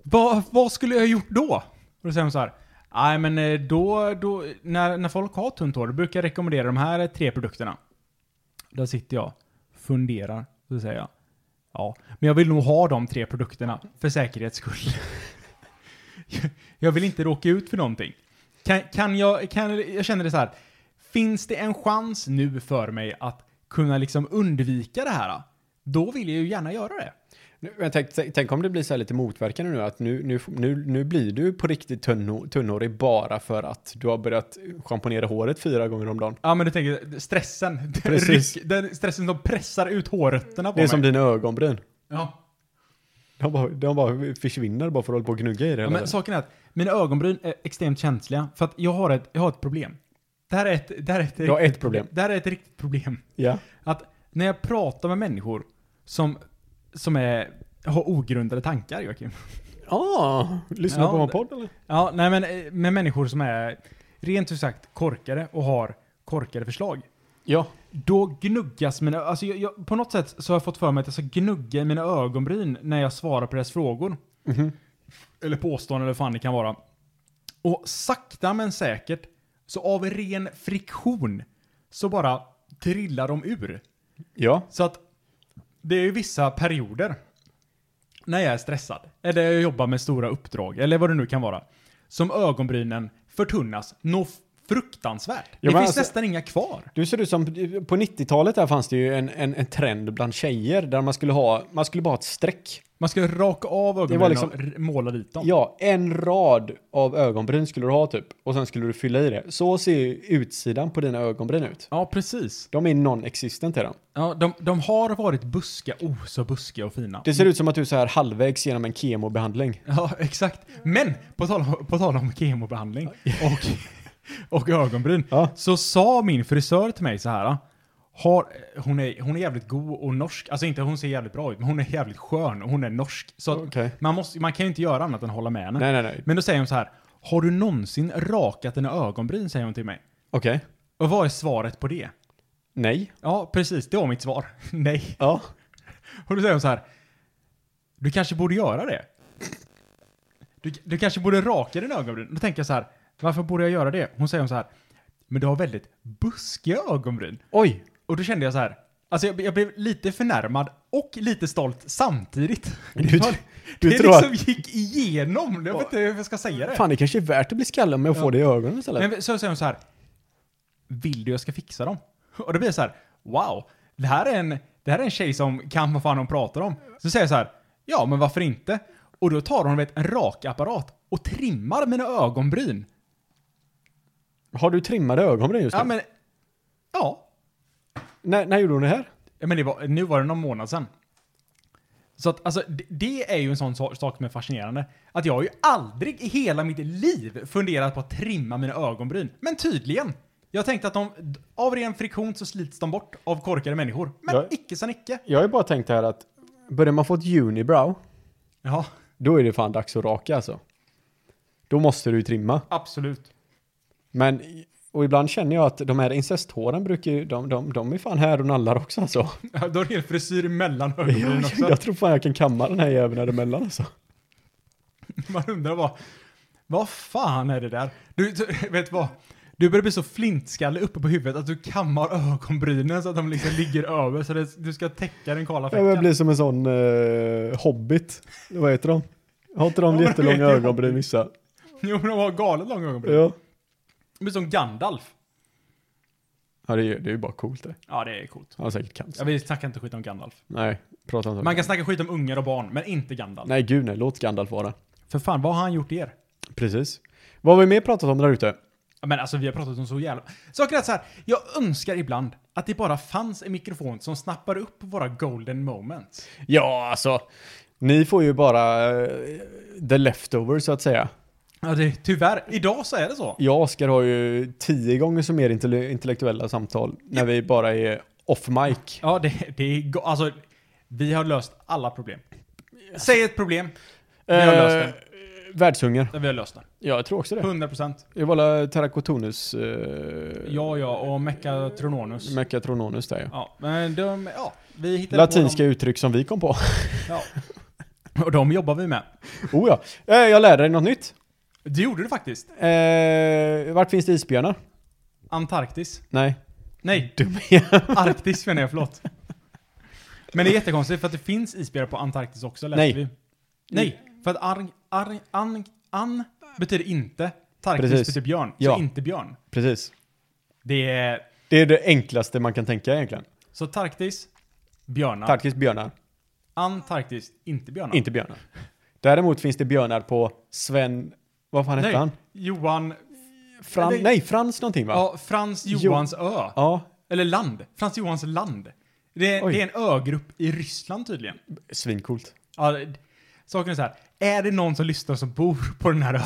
Speaker 1: vad, vad skulle jag ha gjort då? Och då säger hon så här. Nej, men eh, då, då när, när folk har tunt hår, då brukar jag rekommendera de här tre produkterna. Där sitter jag, funderar, och så säger jag. Ja, men jag vill nog ha de tre produkterna, för säkerhets skull. Jag- jag vill inte råka ut för någonting. Kan, kan jag, kan, jag känner det så här. Finns det en chans nu för mig att kunna liksom undvika det här? Då vill jag ju gärna göra det.
Speaker 3: Nu- Men tänk, tänk- tänk om det blir så här lite motverkande nu, att nu, nu, nu, nu blir du på riktigt tunnhå- tunnhårig bara för att du har börjat schamponera håret fyra gånger om dagen.
Speaker 1: Ja men du tänker, stressen. Den
Speaker 3: Precis.
Speaker 1: ryck- Den stressen som pressar ut hårrötterna på
Speaker 3: Det är
Speaker 1: mig.
Speaker 3: som dina ögonbryn.
Speaker 1: ja.
Speaker 3: De bara, de bara försvinner bara för att hålla på och gnugga i det
Speaker 1: Ja,
Speaker 3: hela
Speaker 1: men
Speaker 3: tiden.
Speaker 1: saken är att mina ögonbryn är extremt känsliga. För att jag har ett, jag har ett problem. Det här är ett, det här är ett,
Speaker 3: Du har
Speaker 1: riktigt
Speaker 3: ett problem.
Speaker 1: Det här är ett riktigt problem.
Speaker 3: Ja.
Speaker 1: Att när jag pratar med människor som, som är, har ogrundade tankar, Joakim.
Speaker 3: Ah, lyssna
Speaker 1: Ja,
Speaker 3: på vår
Speaker 1: det-
Speaker 3: podd eller?
Speaker 1: Ja, nej men eh, med människor som är rent ut sagt korkade och har korkade förslag.
Speaker 3: Ja.
Speaker 1: Då gnuggas mina, alltså jag, jag, på något sätt så har jag fått för mig att jag ska gnugga i mina ögonbryn när jag svarar på deras frågor. Eller påståenden eller vad fan det kan vara. Och sakta men säkert, så av ren friktion, så bara trillar de ur.
Speaker 3: Ja.
Speaker 1: Så att det är ju vissa perioder när jag är stressad, eller jag jobbar med stora uppdrag, eller vad det nu kan vara, som ögonbrynen förtunnas nå fruktansvärt. det
Speaker 3: men
Speaker 1: finns
Speaker 3: alltså-
Speaker 1: nästan inga kvar.
Speaker 3: Du ser ut som, på 90-talet där fanns det ju en, en, en trend bland tjejer där man skulle ha, man skulle bara ha ett streck.
Speaker 1: Man ska raka av ögonbrynen
Speaker 3: liksom-
Speaker 1: och r- måla dit dem.
Speaker 3: Ja, en rad av ögonbryn skulle du ha typ. Och sen skulle du fylla i det. Så ser ju utsidan på dina ögonbryn ut.
Speaker 1: Ja, precis.
Speaker 3: De är non-existent är de.
Speaker 1: Ja, de, de har varit buska, oh så buskiga och fina.
Speaker 3: Det ser ut som att du är så här halvvägs genom en kemobehandling.
Speaker 1: Ja, exakt. Men på tal om, på tal om kemobehandling och, och ögonbryn,
Speaker 3: Ja.
Speaker 1: så sa min frisör till mig så här. Har, hon, är, hon är jävligt god och norsk. Alltså inte hon ser jävligt bra ut, men hon är jävligt skön och hon är norsk. Så att
Speaker 3: Okej.
Speaker 1: man, måste, man kan ju inte göra annat än hålla med henne.
Speaker 3: Nej, nej, nej.
Speaker 1: Men då säger hon så här. Har du någonsin rakat dina ögonbryn? Säger hon till mig.
Speaker 3: Okej.
Speaker 1: Och vad är svaret på det?
Speaker 3: Nej.
Speaker 1: Ja, precis. Det var mitt svar. Nej.
Speaker 3: Ja.
Speaker 1: Och då säger hon så här. Du kanske borde göra det. Du, du kanske borde raka dina ögonbryn. Då tänker jag så här. Varför borde jag göra det? Hon säger så här. Men du har väldigt buskiga ögonbryn.
Speaker 3: Oj.
Speaker 1: Och då kände jag så här. Alltså jag, jag blev lite förnärmad och lite stolt samtidigt.
Speaker 3: Du-
Speaker 1: det
Speaker 3: du
Speaker 1: det
Speaker 3: tror att-
Speaker 1: liksom gick igenom. Jag vet inte hur jag ska säga det.
Speaker 3: Fan, det kanske är värt att bli skallad med att få det i ögonen istället.
Speaker 1: Men så säger hon så här. Vill du jag ska fixa dem? Och då blir jag så här. Wow. Det här är en, det här är en tjej som kan vad fan hon pratar om. Så säger jag så här. Ja, men varför inte? Och då tar hon vet, en rakapparat och trimmar mina ögonbryn.
Speaker 3: Har du trimmade ögonbryn just nu?
Speaker 1: Ja, men... Ja.
Speaker 3: när, när gjorde hon det här?
Speaker 1: Ja, Men det var, nu var det någon månad sedan. Så att, alltså, det, det är ju en sån sa- sak som är fascinerande. Att jag har ju aldrig i hela mitt liv funderat på att trimma mina ögonbryn. Men tydligen. Jag tänkte att de, d- av ren friktion så slits de bort av korkade människor. Men
Speaker 3: Ja.
Speaker 1: icke sa Nicke.
Speaker 3: Jag har ju bara tänkt här att börjar man få ett unibrow,
Speaker 1: Ja,
Speaker 3: då är det fan dags att raka alltså. Då måste du ju trimma.
Speaker 1: absolut.
Speaker 3: Men, och ibland känner jag att de här incesthåren brukar ju, de, de, de är fan här och nallar också alltså.
Speaker 1: Ja, Då är det en frisyr mellan ögonbrynen
Speaker 3: Jag,
Speaker 1: också.
Speaker 3: jag tror fan jag kan kamma den här jäveln däremellan alltså.
Speaker 1: Man undrar vad, vad fan är det där? Du, du vet vad? Du börjar bli så flintskalle uppe på huvudet att du kammar ögonbrynen så att de liksom ligger över så det, du ska täcka den kala
Speaker 3: Jag börjar
Speaker 1: fläcken.
Speaker 3: bli som en sån eh, hobbit. Eller Vad heter de? Har inte
Speaker 1: Ja,
Speaker 3: de
Speaker 1: men de
Speaker 3: jättelånga
Speaker 1: heter
Speaker 3: ögonbryn vissa?
Speaker 1: Jo men de har galet långa ögonbryn.
Speaker 3: Ja.
Speaker 1: De är som Gandalf.
Speaker 3: Ja, det är, ju- det är ju bara coolt det.
Speaker 1: Ja, det är coolt.
Speaker 3: Han har säkert
Speaker 1: Ja,
Speaker 3: cancer.
Speaker 1: vi snackar inte skit om Gandalf.
Speaker 3: Nej, prata inte om
Speaker 1: Man
Speaker 3: det.
Speaker 1: kan snacka skit om ungar och barn, men inte Gandalf.
Speaker 3: Nej, gud nej. Låt Gandalf vara.
Speaker 1: För fan, vad har han gjort er?
Speaker 3: Precis. Vad har vi mer pratat om där ute?
Speaker 1: Ja, Men alltså vi har pratat om så jävla... Saken är att så här, jag önskar ibland att det bara fanns en mikrofon som snappar upp våra golden moments.
Speaker 3: Ja, alltså. Ni får ju bara eh, the leftover så att säga.
Speaker 1: Ja, det, tyvärr. Idag så är det så.
Speaker 3: Jag och Oskar har ju tio gånger så mer intell- intellektuella samtal när vi bara är off mic.
Speaker 1: Ja, det, det är... go- Alltså, vi har löst alla problem. Säg ett problem. Vi har löst det.
Speaker 3: Eh, Världshunger.
Speaker 1: Ja, Vi har löst det.
Speaker 3: Ja, jag tror också det.
Speaker 1: 100 procent.
Speaker 3: Det var väl Terracotonus, eh,
Speaker 1: Ja, ja, och Mechatrononus.
Speaker 3: Mechatrononus där ja.
Speaker 1: Ja, men de... Ja, vi hittade
Speaker 3: Latinska
Speaker 1: på
Speaker 3: uttryck som vi kom på.
Speaker 1: dem. Ja. Och de jobbar vi med.
Speaker 3: oh ja. Eh, jag lärde dig något nytt.
Speaker 1: Det gjorde du faktiskt.
Speaker 3: Eh, vart finns det isbjörnar?
Speaker 1: Antarktis.
Speaker 3: Nej.
Speaker 1: Nej,
Speaker 3: Dum igen.
Speaker 1: Arktis menar jag, förlåt. Men det är jättekonstigt för att det finns isbjörnar på Antarktis också, läste
Speaker 3: Nej.
Speaker 1: vi. Nej, för att arg, arg, an, an betyder inte. Tarktis
Speaker 3: Precis.
Speaker 1: betyder björn,
Speaker 3: Ja.
Speaker 1: så inte björn.
Speaker 3: Precis.
Speaker 1: Det är...
Speaker 3: Det är det enklaste man kan tänka egentligen.
Speaker 1: Så Tarktis, björnar.
Speaker 3: Tarkis björnar,
Speaker 1: Antarktis, inte björnar.
Speaker 3: inte björnar. Däremot finns det björnar på Sven... Vad fan hette
Speaker 1: Nej,
Speaker 3: han?
Speaker 1: Johan...
Speaker 3: Fran,
Speaker 1: Nej.
Speaker 3: nej. Frans någonting va?
Speaker 1: Ja, Frans Johans ö.
Speaker 3: Ja,
Speaker 1: Eller land. Frans Johans land. Det är,
Speaker 3: Oj.
Speaker 1: det är en ögrupp i Ryssland tydligen.
Speaker 3: svinkult.
Speaker 1: Ja, det- saken är så här. Är det någon som lyssnar som bor på den här ön?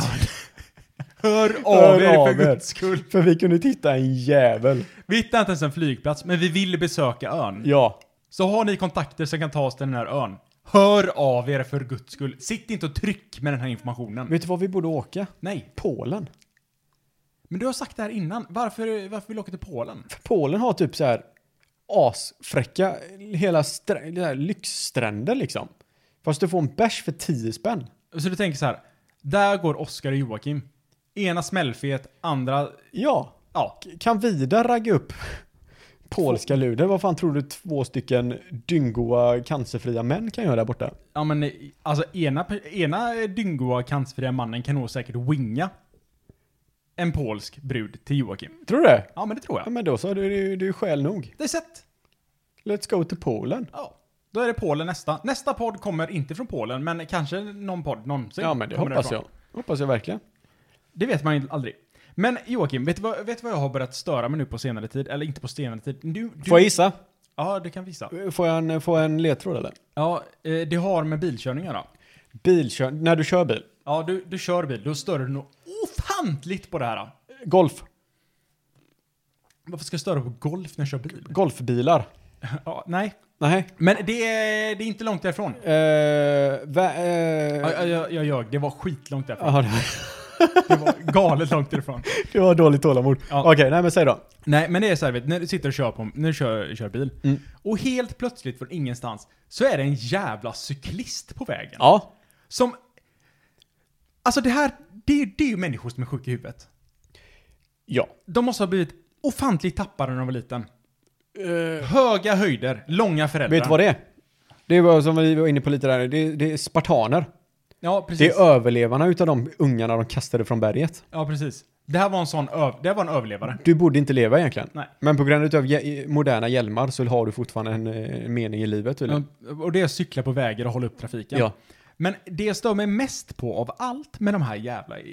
Speaker 1: Hör av er för guds skull.
Speaker 3: För vi kunde titta en jävel.
Speaker 1: Vi hittar inte ens en flygplats, men vi vill besöka ön.
Speaker 3: Ja,
Speaker 1: Så har ni kontakter som kan ta oss till den här ön, hör av er för guds skull. Sitt inte och tryck med den här informationen.
Speaker 3: vet du vad vi borde åka?
Speaker 1: Nej,
Speaker 3: Polen.
Speaker 1: men du har sagt det här innan. Varför, varför vill du åka till Polen?
Speaker 3: För Polen har typ så här asfräcka hela strä- det här lyxstränder liksom. Fast du får en bärs för 10 spänn.
Speaker 1: Så du tänker så här. Där går Oskar och Joakim. Ena smällfet, andra...
Speaker 3: Ja,
Speaker 1: Ja,
Speaker 3: kan Vida ragga upp polska luder? Vad fan tror du två stycken dyngoa cancerfria män kan göra där borta?
Speaker 1: ja men eh, alltså ena, pe- ena dyngoa cancerfria mannen kan nog säkert winga en polsk brud till Joakim.
Speaker 3: Tror du det?
Speaker 1: Ja men det tror
Speaker 3: Ja
Speaker 1: jag.
Speaker 3: men då så, du, du, du är skäl nog.
Speaker 1: Det är sett.
Speaker 3: Let's go to Polen.
Speaker 1: Ja. Då är det Polen nästa. Nästa podd kommer inte från Polen, men kanske någon podd någonsin.
Speaker 3: Ja men det
Speaker 1: kommer
Speaker 3: hoppas
Speaker 1: därifrån.
Speaker 3: jag. Hoppas jag verkligen.
Speaker 1: Det vet man ju aldrig. Men Joakim, vet du, vad, vet du vad jag har börjat störa mig nu på senare tid? Eller inte på senare tid. Du, du,
Speaker 3: Får jag gissa?
Speaker 1: Ja, du kan visa.
Speaker 3: Får jag en, får jag en ledtråd eller?
Speaker 1: Ja, eh, det har med bilkörning att göra.
Speaker 3: Bilkör, när du kör bil.
Speaker 1: Ja, du, du kör bil. Då stör du nog ofantligt på det här.
Speaker 3: Golf.
Speaker 1: Varför ska jag störa på golf när jag kör bil?
Speaker 3: Golfbilar.
Speaker 1: Ja, nej.
Speaker 3: Nej.
Speaker 1: Men det är, det är inte långt därifrån.
Speaker 3: Eh, va, eh,
Speaker 1: Ja, ja, jag, jag ljög. Det var skitlångt därifrån.
Speaker 3: jaha, det, var,
Speaker 1: Det var galet långt därifrån.
Speaker 3: det var dåligt tålamod.
Speaker 1: Ja.
Speaker 3: Okej, nej men säg då.
Speaker 1: Nej, men det är så här, vet, du, när du sitter och kör, på, när du kör, kör bil,
Speaker 3: Mm.
Speaker 1: och helt plötsligt från ingenstans så är det en jävla cyklist på vägen.
Speaker 3: Ja.
Speaker 1: Som... Alltså det här, det, är- det är ju människor som är sjuka i huvudet.
Speaker 3: Ja.
Speaker 1: De måste ha blivit ofantligt tappade när de var liten.
Speaker 3: Eh,
Speaker 1: Höga höjder, långa föräldrar.
Speaker 3: Vet du vad det är? Det var som vi var inne på lite där, det, det är spartaner.
Speaker 1: Ja,
Speaker 3: Det
Speaker 1: precis.
Speaker 3: är överlevarna utav de ungarna de kastade från berget.
Speaker 1: ja, precis. Det här var en sån öv... Det här var en överlevare.
Speaker 3: Du borde inte leva egentligen.
Speaker 1: Nej.
Speaker 3: Men på grund utav jä- moderna hjälmar så har du fortfarande en eh, mening i livet tydligen.
Speaker 1: Och det är att cykla på vägar och hålla upp trafiken.
Speaker 3: Ja.
Speaker 1: Men det jag stör mig mest på av allt med de här jävla, eh,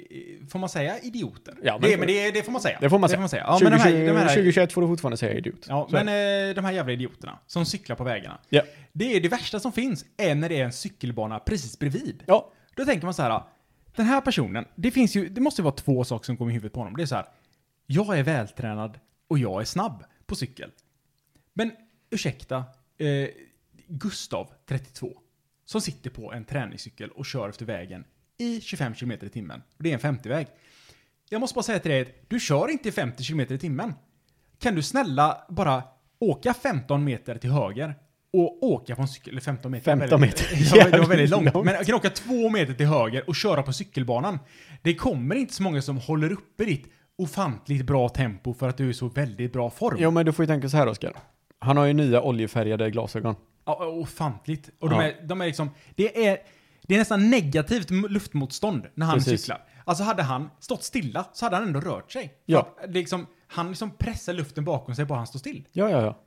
Speaker 1: får man säga idioter?
Speaker 3: Ja, men-
Speaker 1: det, men det, det får man säga.
Speaker 3: Det får man säga.
Speaker 1: Ja, men de här, de här,
Speaker 3: 2021 får du fortfarande säga idiot.
Speaker 1: ja,
Speaker 3: Så är
Speaker 1: men eh, de här jävla idioterna som cyklar på vägarna.
Speaker 3: det. ja.
Speaker 1: Det är det värsta som finns, är när det är en cykelbana precis bredvid.
Speaker 3: ja.
Speaker 1: Då tänker man så här, "Ah, den här personen, det finns ju, det måste ju vara två saker som kommer i huvudet på honom. Det är så här, jag är vältränad och jag är snabb på cykel. Men ursäkta, eh, Gustav, 32, som sitter på en träningscykel och kör efter vägen i 25 km i timmen. Och det är en 50-väg. Jag måste bara säga till dig att du kör inte i 50 km i timmen. Kan du snälla bara åka 15 meter till höger och åka på en cykel, eller 15 meter.
Speaker 3: 15 meter.
Speaker 1: Ja, det var väldigt
Speaker 3: Jävligt
Speaker 1: långt.
Speaker 3: långt.
Speaker 1: Men jag kan åka två meter till höger och köra på cykelbanan. Det kommer inte så många som håller uppe ditt ofantligt bra tempo för att du är i så väldigt bra form.
Speaker 3: Jo men du får ju tänka så här Oskar. Han har ju nya oljefärgade glasögon.
Speaker 1: Ja, ofantligt. Och de,
Speaker 3: Ja.
Speaker 1: är, de är liksom, det är, det är nästan negativt m- luftmotstånd när han
Speaker 3: Precis.
Speaker 1: cyklar. Alltså hade han stått stilla så hade han ändå rört sig.
Speaker 3: Ja.
Speaker 1: För att, Liksom, han liksom pressar luften bakom sig bara han står still.
Speaker 3: Ja, ja, ja.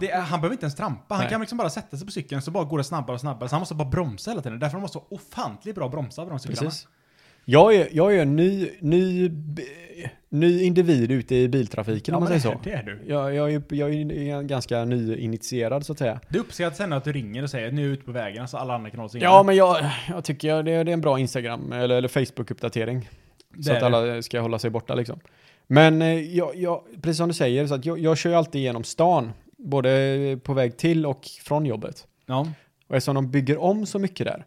Speaker 1: Det är, han behöver inte ens trampa. Han
Speaker 3: Nej.
Speaker 1: kan liksom bara sätta sig på cykeln så bara går det snabbare och snabbare. Så han måste bara bromsa hela tiden. Därför måste de vara ofantligt bra bromsar på de cyklarna.
Speaker 3: Precis. Jag är, jag är en ny, ny, b- ny individ ute i biltrafiken
Speaker 1: Ja,
Speaker 3: om man
Speaker 1: men
Speaker 3: säger så.
Speaker 1: det är du.
Speaker 3: Jag, jag, är, jag är ganska nyinitierad så att säga.
Speaker 1: Det uppskattas ändå att du ringer och säger nu är jag ute på vägen så alla andra kan hålla sig inne.
Speaker 3: Ja, men jag, jag tycker jag, det, är- det är en bra Instagram eller, eller Facebook-uppdatering.
Speaker 1: Det
Speaker 3: Så
Speaker 1: är
Speaker 3: att
Speaker 1: det.
Speaker 3: alla ska hålla sig borta liksom. Men eh, jag, jag, precis som du säger, så att jag, jag kör ju alltid genom stan. Både på väg till och från jobbet.
Speaker 1: Ja.
Speaker 3: Och eftersom de bygger om så mycket där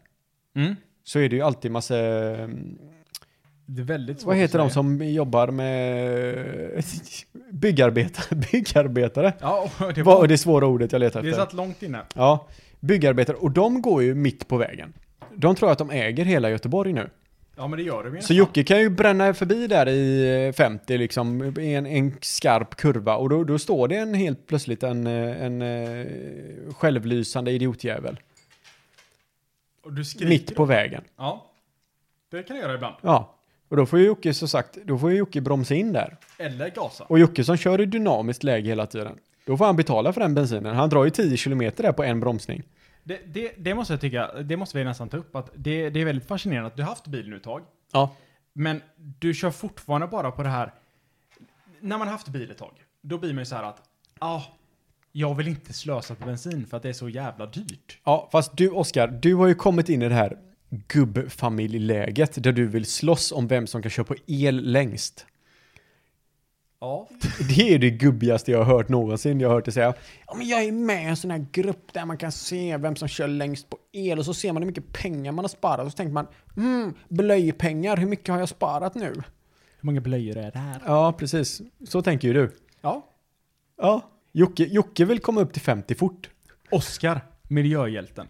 Speaker 1: Mm.
Speaker 3: så är det ju alltid massa, eh,
Speaker 1: Det är väldigt svårt
Speaker 3: vad
Speaker 1: att
Speaker 3: heter de
Speaker 1: säga.
Speaker 3: som jobbar med byggarbetare? byggarbetare.
Speaker 1: Ja, och det,
Speaker 3: Vad är
Speaker 1: var,
Speaker 3: det svåra ordet jag letar
Speaker 1: det
Speaker 3: efter?
Speaker 1: satt långt inne.
Speaker 3: Ja, byggarbetare. Och de går ju mitt på vägen. De tror att de äger hela Göteborg nu.
Speaker 1: Ja, men det gör det.
Speaker 3: Så Jocke kan ju bränna förbi där i eh, 50 liksom, i en, en skarp kurva och då, då står det en helt plötsligt en, eh, en eh, självlysande idiotjävel
Speaker 1: Och du skriker.
Speaker 3: mitt på vägen.
Speaker 1: Ja. Det kan jag göra ibland.
Speaker 3: Ja, och då får ju Jocke som sagt, då får ju Jocke bromsa in där.
Speaker 1: Eller gasa.
Speaker 3: Och Jocke som kör i dynamiskt läge hela tiden, då får han betala för den bensinen. Han drar ju 10 kilometer där på en bromsning.
Speaker 1: Det, det, det måste jag tycka, det måste vi nästan ta upp, att det, det är väldigt fascinerande att du har haft bilen nu ett tag.
Speaker 3: Ja,
Speaker 1: Men du kör fortfarande bara på det här. När man har haft bil ett tag, då blir man ju så här att, ja, ah, jag vill inte slösa på bensin för att det är så jävla dyrt.
Speaker 3: ja fast du Oskar, du har ju kommit in i det här gubbfamiljläget där du vill slåss om vem som kan köpa el längst.
Speaker 1: Ja.
Speaker 3: Det är det gubbigaste jag har hört någonsin. Jag har hört det säga. Ja, men jag är med i en sån här grupp där man kan se vem som kör längst på el och så ser man hur mycket pengar man har sparat och så tänker man mm, blöjpengar, hur mycket har jag sparat nu?
Speaker 1: Hur många blöjor är det här?
Speaker 3: Ja, precis. Så tänker ju du.
Speaker 1: Ja.
Speaker 3: Ja. Jocke, Jocke vill komma upp till 50 fort.
Speaker 1: Oscar, miljöhjälten.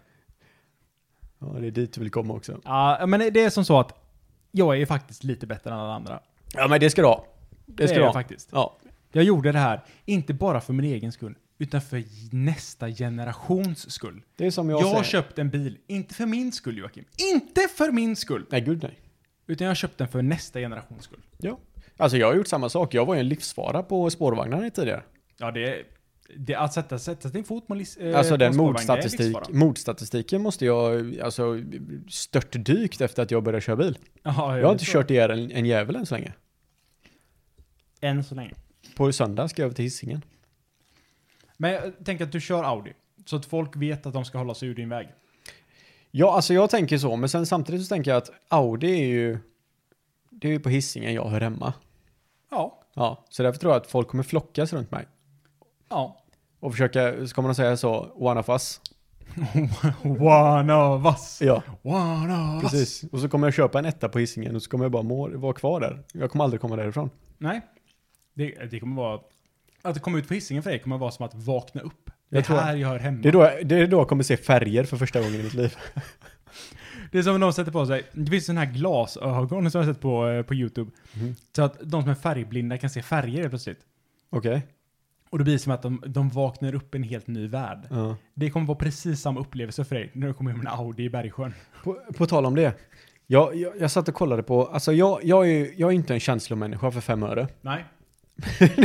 Speaker 3: Ja, det är dit du vill komma också.
Speaker 1: Ja, men det är som så att jag är ju faktiskt lite bättre än alla andra.
Speaker 3: Ja, men det ska du ha. Det
Speaker 1: Det
Speaker 3: ska
Speaker 1: är
Speaker 3: du
Speaker 1: jag
Speaker 3: ha.
Speaker 1: faktiskt.
Speaker 3: Ja.
Speaker 1: Jag gjorde det här, inte bara för min egen skull, utan för nästa generations skull.
Speaker 3: Det är som jag,
Speaker 1: Jag,
Speaker 3: säger.
Speaker 1: har köpt en bil, inte för min skull Joakim. Inte för min skull!
Speaker 3: Nej, gud nej.
Speaker 1: Utan jag har köpt den för nästa generations skull.
Speaker 3: Ja. Alltså jag har gjort samma sak. Jag var ju en livsfara på spårvagnarna tidigare.
Speaker 1: Ja, det är... Det, att sätta, sätta sin fot mot lis- eh,
Speaker 3: Alltså
Speaker 1: på en
Speaker 3: den
Speaker 1: spårvagn, det är
Speaker 3: motstatistik,
Speaker 1: livsfara.
Speaker 3: motstatistiken måste jag, alltså störtdykt efter att jag började köra bil.
Speaker 1: Ja,
Speaker 3: Jag har inte
Speaker 1: så.
Speaker 3: kört ihjäl en, en jävel än så länge.
Speaker 1: Än så länge.
Speaker 3: På söndag ska jag över till Hisingen.
Speaker 1: Men jag tänker att du kör Audi. Så att folk vet att de ska hålla sig ur din väg.
Speaker 3: Ja, alltså jag tänker så, men sen samtidigt så tänker jag att Audi är ju, det är ju på Hisingen jag hör hemma.
Speaker 1: Ja.
Speaker 3: Ja, så därför tror jag att folk kommer flockas runt mig.
Speaker 1: Ja.
Speaker 3: Och försöka, så kommer de säga så, one of us.
Speaker 1: One of us.
Speaker 3: Ja,
Speaker 1: One of us.
Speaker 3: precis. Och så kommer jag köpa en etta på Hisingen och så kommer jag bara må, vara kvar där. Jag kommer aldrig komma därifrån.
Speaker 1: Nej. Det, det kommer vara... Att komma ut på hissingen för dig kommer vara som att vakna upp.
Speaker 3: Jag
Speaker 1: Det
Speaker 3: tror-
Speaker 1: är här jag hör hemma.
Speaker 3: Det är, då, jag- det är då jag kommer se färger för första gången i mitt liv.
Speaker 1: Det är som när de sätter på sig, det finns sådana här glasögon som jag har sett på, eh, på YouTube.
Speaker 3: Mhm.
Speaker 1: Så att de som är färgblinda kan se färger helt plötsligt.
Speaker 3: Okej.
Speaker 1: Och det blir som att de, de vaknar upp i en helt ny värld.
Speaker 3: Ja.
Speaker 1: Det kommer vara precis samma upplevelse för dig när du kommer hem med en Audi i Bergsjön.
Speaker 3: På, på tal om det. Jag, jag, jag satt och kollade på, alltså jag, jag, är, ju- jag är inte en känslomänniska för fem öre.
Speaker 1: Nej.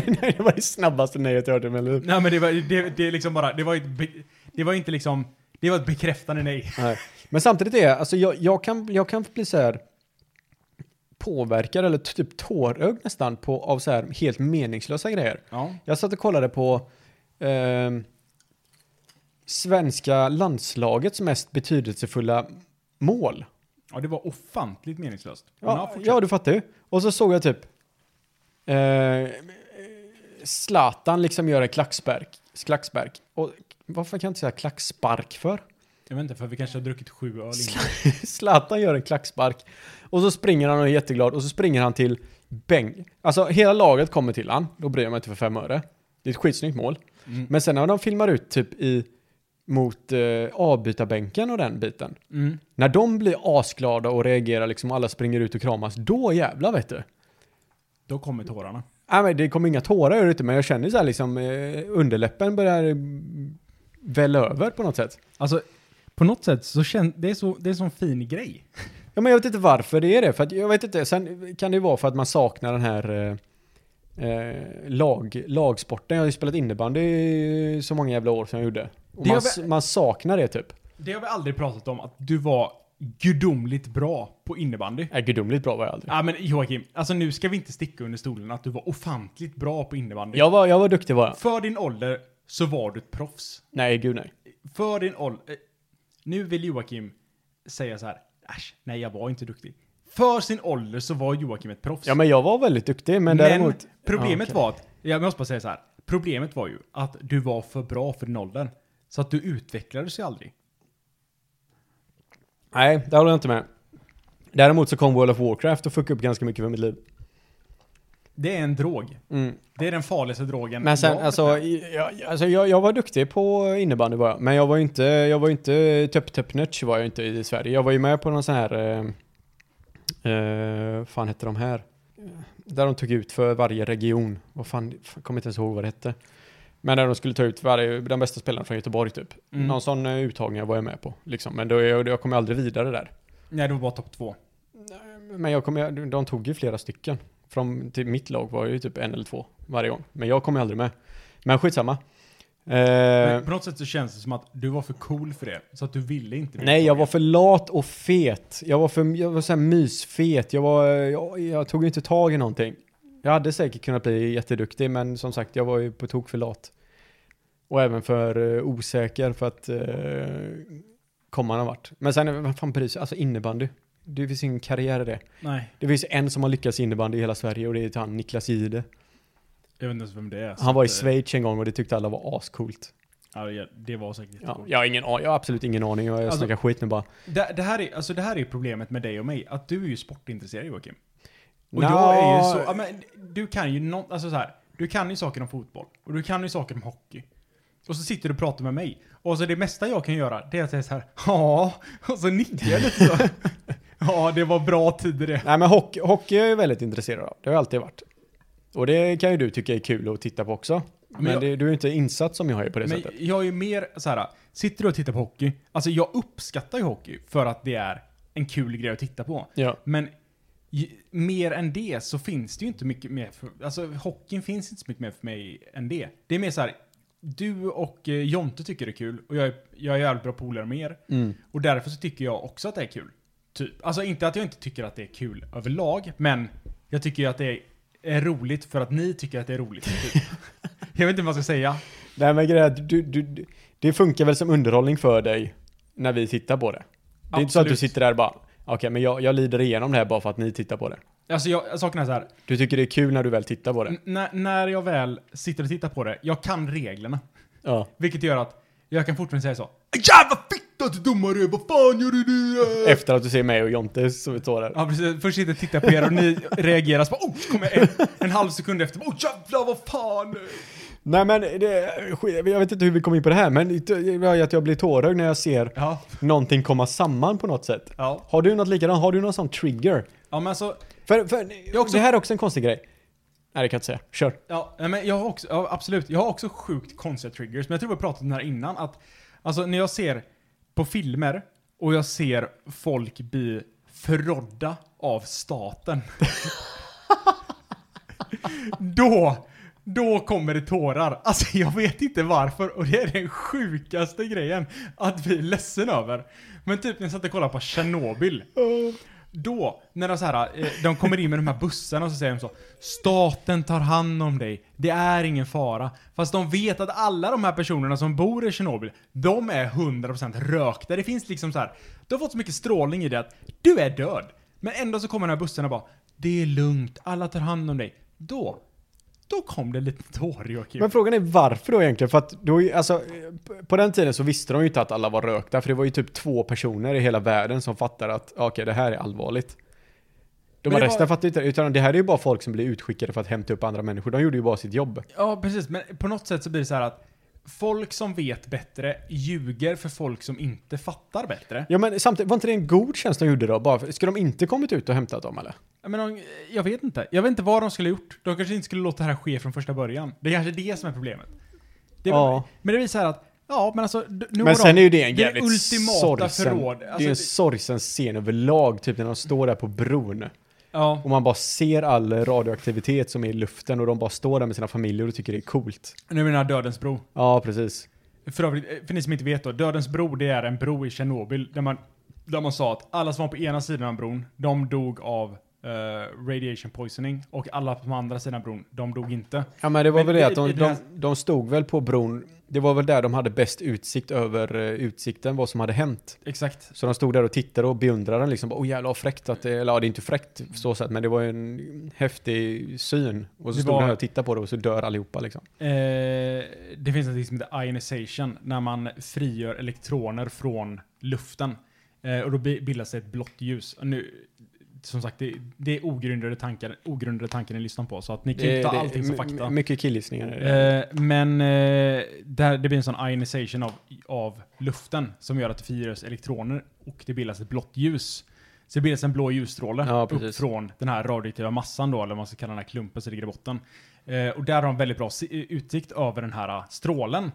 Speaker 3: det var det snabbaste nejet jag hört i mitt liv.
Speaker 1: Nej men det var, det, det är liksom bara, det var ett, be- det var inte liksom, det var ett bekräftande nej.
Speaker 3: Nej. Men samtidigt är jag, alltså jag, jag, kan, jag kan bli så här påverkad eller typ tårögd nästan på, av så här helt meningslösa grejer.
Speaker 1: Ja.
Speaker 3: Jag satt och kollade på ehm, svenska landslagets mest betydelsefulla mål.
Speaker 1: Ja det var ofantligt meningslöst. Men
Speaker 3: Ja,
Speaker 1: fortsätt.
Speaker 3: ja, du fattar ju. Och så såg jag typ eh, Zlatan liksom gör en klackspark. klackspark. Och varför kan jag inte säga klackspark för?
Speaker 1: Jag vet inte, för vi kanske har druckit sju öl innan.
Speaker 3: Zlatan gör en klackspark. Och så springer han och är jätteglad och så springer han till Beng. Alltså hela laget kommer till han. Då bryr jag mig inte för fem öre. Det är ett skitsnyggt mål.
Speaker 1: Mm.
Speaker 3: Men sen när de filmar ut typ i mot eh, avbytarbänken och den biten.
Speaker 1: Mm.
Speaker 3: När de blir asglada och reagerar liksom och alla springer ut och kramas, då jävlar vet du.
Speaker 1: Då kommer tårarna.
Speaker 3: Nej, men det kommer inga tårar ur det, men jag känner så här liksom eh, underläppen börjar mm, välla över på något sätt.
Speaker 1: Alltså, på något sätt så känns det, är så, det är en sån fin grej.
Speaker 3: Ja, men jag vet inte varför det är det. För att, jag vet inte. Sen kan det ju vara för att man saknar den här eh, eh, lag, lagsporten. Jag har ju spelat innebandy i så många jävla år som jag gjorde. Och
Speaker 1: Det
Speaker 3: man,
Speaker 1: har vi-
Speaker 3: s- man saknar det typ.
Speaker 1: Det har vi aldrig pratat om, att du var gudomligt bra på innebandy.
Speaker 3: Äh, gudomligt bra var jag aldrig.
Speaker 1: Ja men Joakim, alltså nu ska vi inte sticka under stolen att du var ofantligt bra på innebandy.
Speaker 3: Jag var, jag var duktig var jag.
Speaker 1: För din ålder så var du ett proffs.
Speaker 3: Nej, gud nej.
Speaker 1: För din ålder... eh, Nu vill Joakim säga så här. Äsch, nej jag var inte duktig. För sin ålder så var Joakim ett proffs.
Speaker 3: Ja, men jag var väldigt duktig. Men däremot...
Speaker 1: problemet
Speaker 3: Ja, okej.
Speaker 1: var att, jag måste bara säga så här. Problemet var ju att du var för bra för din ålder. Så att du utvecklades ju aldrig.
Speaker 3: Nej, där håller jag inte med. Däremot så kom World of Warcraft och fuckade upp ganska mycket för mitt liv.
Speaker 1: Det är en drog.
Speaker 3: Mm.
Speaker 1: Det är den farligaste drogen.
Speaker 3: Men sen,
Speaker 1: jag vet
Speaker 3: alltså, jag, alltså jag, jag var duktig på innebandy var jag. Men jag var ju inte, jag var ju inte töpp töpp nötch var jag inte i Sverige. Jag var ju med på någon sån här, eh, eh, fan hette de här? Där de tog ut för varje region. Vad fan, jag kommer inte ens ihåg vad det hette. Men där de skulle ta ut varje, den bästa spelaren från Göteborg typ.
Speaker 1: Mm.
Speaker 3: Någon sån eh, uttagning var jag med på. Liksom. Men då, jag, jag kom aldrig vidare där.
Speaker 1: Nej, det var bara topp
Speaker 3: Eh.
Speaker 1: två.
Speaker 3: Men jag kom, jag- de tog ju flera stycken. Från till mitt lag var ju typ en eller två varje gång. Men jag kom ju aldrig med. Men skitsamma. Eh,
Speaker 1: Men på något sätt så känns det som att du var för cool för det. Så att du ville inte bli
Speaker 3: nej, jag
Speaker 1: uttagen.
Speaker 3: var för lat och fet. Jag var för jag var så här mysfet. Jag, var, jag, jag tog ju inte tag i någonting. Jag hade säkert kunnat bli jätteduktig, men som sagt, jag var ju på tok för lat. Och även för eh, osäker för att eh, komma någon vart. Men sen, vad fan bryr sig? Alltså innebandy. Det finns ingen karriär i det.
Speaker 1: Nej,
Speaker 3: Det finns en som har lyckats i innebandy i hela Sverige och det är han Niklas Jihde.
Speaker 1: jag vet inte ens vem det är. så
Speaker 3: Han var i
Speaker 1: att, eh,
Speaker 3: Schweiz en gång och det tyckte alla var ascoolt.
Speaker 1: Ja, det- det var säkert
Speaker 3: Ja,
Speaker 1: jättecoolt.
Speaker 3: jag, har ingen, an- jag har absolut ingen aning, jag
Speaker 1: Alltså-
Speaker 3: snackar skit nu bara.
Speaker 1: Det, det, här är, alltså det här är problemet med dig och mig, att du är ju sportintresserad Joakim. Och
Speaker 3: Nja.
Speaker 1: jag är ju så, ja, men, du kan ju nå- alltså så här, du kan ju saker om fotboll, och du kan ju saker om hockey. Och så sitter du och pratar med mig, och så det mesta jag kan göra, det är att säga så här, ja, och så nickar jag lite så. Ja, det var bra tider det.
Speaker 3: Nej men hockey, hockey är jag väldigt intresserad av, det har jag alltid varit. Och det kan ju du tycka är kul att titta på också. Men,
Speaker 1: jag-
Speaker 3: det, du är ju inte insatt som jag är på det
Speaker 1: Men
Speaker 3: sättet.
Speaker 1: jag är ju mer så här, sitter du och tittar på hockey, alltså jag uppskattar ju hockey för att det är en kul grej att titta på.
Speaker 3: Ja.
Speaker 1: Men ju, mer än det så finns det ju inte mycket mer för, alltså hockeyn finns inte så mycket mer för mig än det. Det är mer så här, du och eh, Jonte tycker det är kul och jag är, jag är jävligt bra polare med er.
Speaker 3: Mm.
Speaker 1: Och därför så tycker jag också att det är kul. Typ. Alltså inte att jag inte tycker att det är kul överlag, men jag tycker ju att det är, är roligt för att ni tycker att det är roligt. Typ. jag vet inte vad jag ska säga.
Speaker 3: Nej men grejen är att du, du, du, det funkar väl som underhållning för dig när vi tittar på det. Det är inte så att du
Speaker 1: Absolut.
Speaker 3: sitter där och bara, okej men jag, jag lider igenom det här bara för att ni tittar på det.
Speaker 1: Alltså jag, saken är så här,
Speaker 3: Du tycker det är kul när du väl tittar på det.
Speaker 1: n- när, när jag väl sitter och tittar på det, jag kan reglerna.
Speaker 3: Ja.
Speaker 1: Vilket gör att jag kan fortfarande säga så. Jävla fitta till domare, vad fan gör du nu? eh?"
Speaker 3: Efter att du ser mig och Jonte som står där.
Speaker 1: Ja precis, först sitter jag och tittar på er och ni reagerar så bara oh, så kommer jag en, en halv sekund efter. Oh jävlar vad fan!
Speaker 3: Nej men det, jag vet inte hur vi kom in på det här men det gör ju att jag blir tårögd när jag ser
Speaker 1: Ja,
Speaker 3: någonting komma samman på något sätt.
Speaker 1: ja.
Speaker 3: Har du något likadant? Har du någon sån trigger?
Speaker 1: Ja men alltså,
Speaker 3: För, för
Speaker 1: Jag också-
Speaker 3: det här är också en konstig grej. Nej det kan jag inte säga. Kör.
Speaker 1: ja, nej, men jag har också, ja, absolut, jag har också sjukt konstiga triggers. Men jag tror vi har pratat om det här innan att, alltså när jag ser på filmer och jag ser folk bli förrådda av staten. då, då kommer det tårar. Alltså jag vet inte varför och det är den sjukaste grejen att bli ledsen över. Men typ när jag satt och kollade på Tjernobyl. Då, när de, så här, eh, de kommer in med de här bussarna och så säger de så Staten tar hand om dig, det är ingen fara. Fast de vet att alla de här personerna som bor i Tjernobyl, de är 100% rökta. Det finns liksom så här, du har fått så mycket strålning i det att du är död. Men ändå så kommer den här bussen och bara Det är lugnt, alla tar hand om dig. Då, då kom det lite tår Joakim.
Speaker 3: Men frågan är varför då egentligen? För att då, är ju- alltså, eh, på den tiden så visste de ju inte att alla var rökta. För det var ju typ två personer i hela världen som fattade att okej det här är allvarligt. De
Speaker 1: Men det
Speaker 3: resten
Speaker 1: var-
Speaker 3: fattade inte Utan det här är ju bara folk som blir utskickade för att hämta upp andra människor. De gjorde ju bara sitt jobb.
Speaker 1: Ja, precis. Men på något sätt så blir det så här att folk som vet bättre ljuger för folk som inte fattar bättre.
Speaker 3: Ja men samtidigt, var inte det en god tjänst de gjorde då? Bara för, ska de inte kommit ut och hämtat dem eller?
Speaker 1: Jag, menar, jag vet inte. Jag vet inte vad de skulle ha gjort. De kanske inte skulle låta det här ske från första början. Det är kanske det som är problemet. Det är
Speaker 3: Ja.
Speaker 1: Men det blir så här att Ja, men alltså... d- nog
Speaker 3: Men
Speaker 1: av
Speaker 3: sen
Speaker 1: dem.
Speaker 3: är ju det en
Speaker 1: det
Speaker 3: jävligt
Speaker 1: ultimata
Speaker 3: sorgsen,
Speaker 1: förråd.
Speaker 3: det är
Speaker 1: Alltså,
Speaker 3: en
Speaker 1: det-
Speaker 3: sorgsen scen överlag, typ när de står där på bron.
Speaker 1: Ja.
Speaker 3: Och man bara ser all radioaktivitet som är i luften och de bara står där med sina familjer och tycker det är coolt.
Speaker 1: Nu menar jag Dödens bro.
Speaker 3: Ja, precis.
Speaker 1: För, övrigt, eh, för ni som inte vet då, Dödens bro det är en bro i Tjernobyl där man, där man sa att alla som var på ena sidan av bron, de dog av eh, radiation poisoning och alla på andra sidan bron, de dog inte.
Speaker 3: Ja, men det var
Speaker 1: Men
Speaker 3: väl det
Speaker 1: i-
Speaker 3: att de,
Speaker 1: i den
Speaker 3: de,
Speaker 1: här-
Speaker 3: de stod väl på bron, det var väl där de hade bäst utsikt över eh, utsikten, vad som hade hänt.
Speaker 1: Exakt.
Speaker 3: Så de stod där och tittade och beundrade den liksom. Bara, Åh jävlar vad fräckt att det, eller ja, det är inte fräckt på så sätt, men det var ju en häftig syn. Och så
Speaker 1: Det
Speaker 3: stod
Speaker 1: var-
Speaker 3: de här och tittade på det och så dör allihopa liksom.
Speaker 1: Eh, det finns något som heter ionization, när man frigör elektroner från luften. Eh, och då bi- bildas det ett blått ljus. Och nu, som sagt, det, det är ogrundade tankar, ogrundade tankar ni lyssnar på, så att ni kan ju inte ta allting som
Speaker 3: my-
Speaker 1: fakta.
Speaker 3: my- Mycket killgissningar är det.
Speaker 1: Eh, men eh, där, det blir en sån ionization av, av luften som gör att det frigörs elektroner och det bildas ett blått ljus. Så det bildas en blå ljusstråle
Speaker 3: Ja,
Speaker 1: upp
Speaker 3: precis.
Speaker 1: från den här radioaktiva massan då, eller vad man ska kalla den här klumpen som ligger i botten. Eh, och där har de väldigt bra si- utsikt över den här eh, strålen.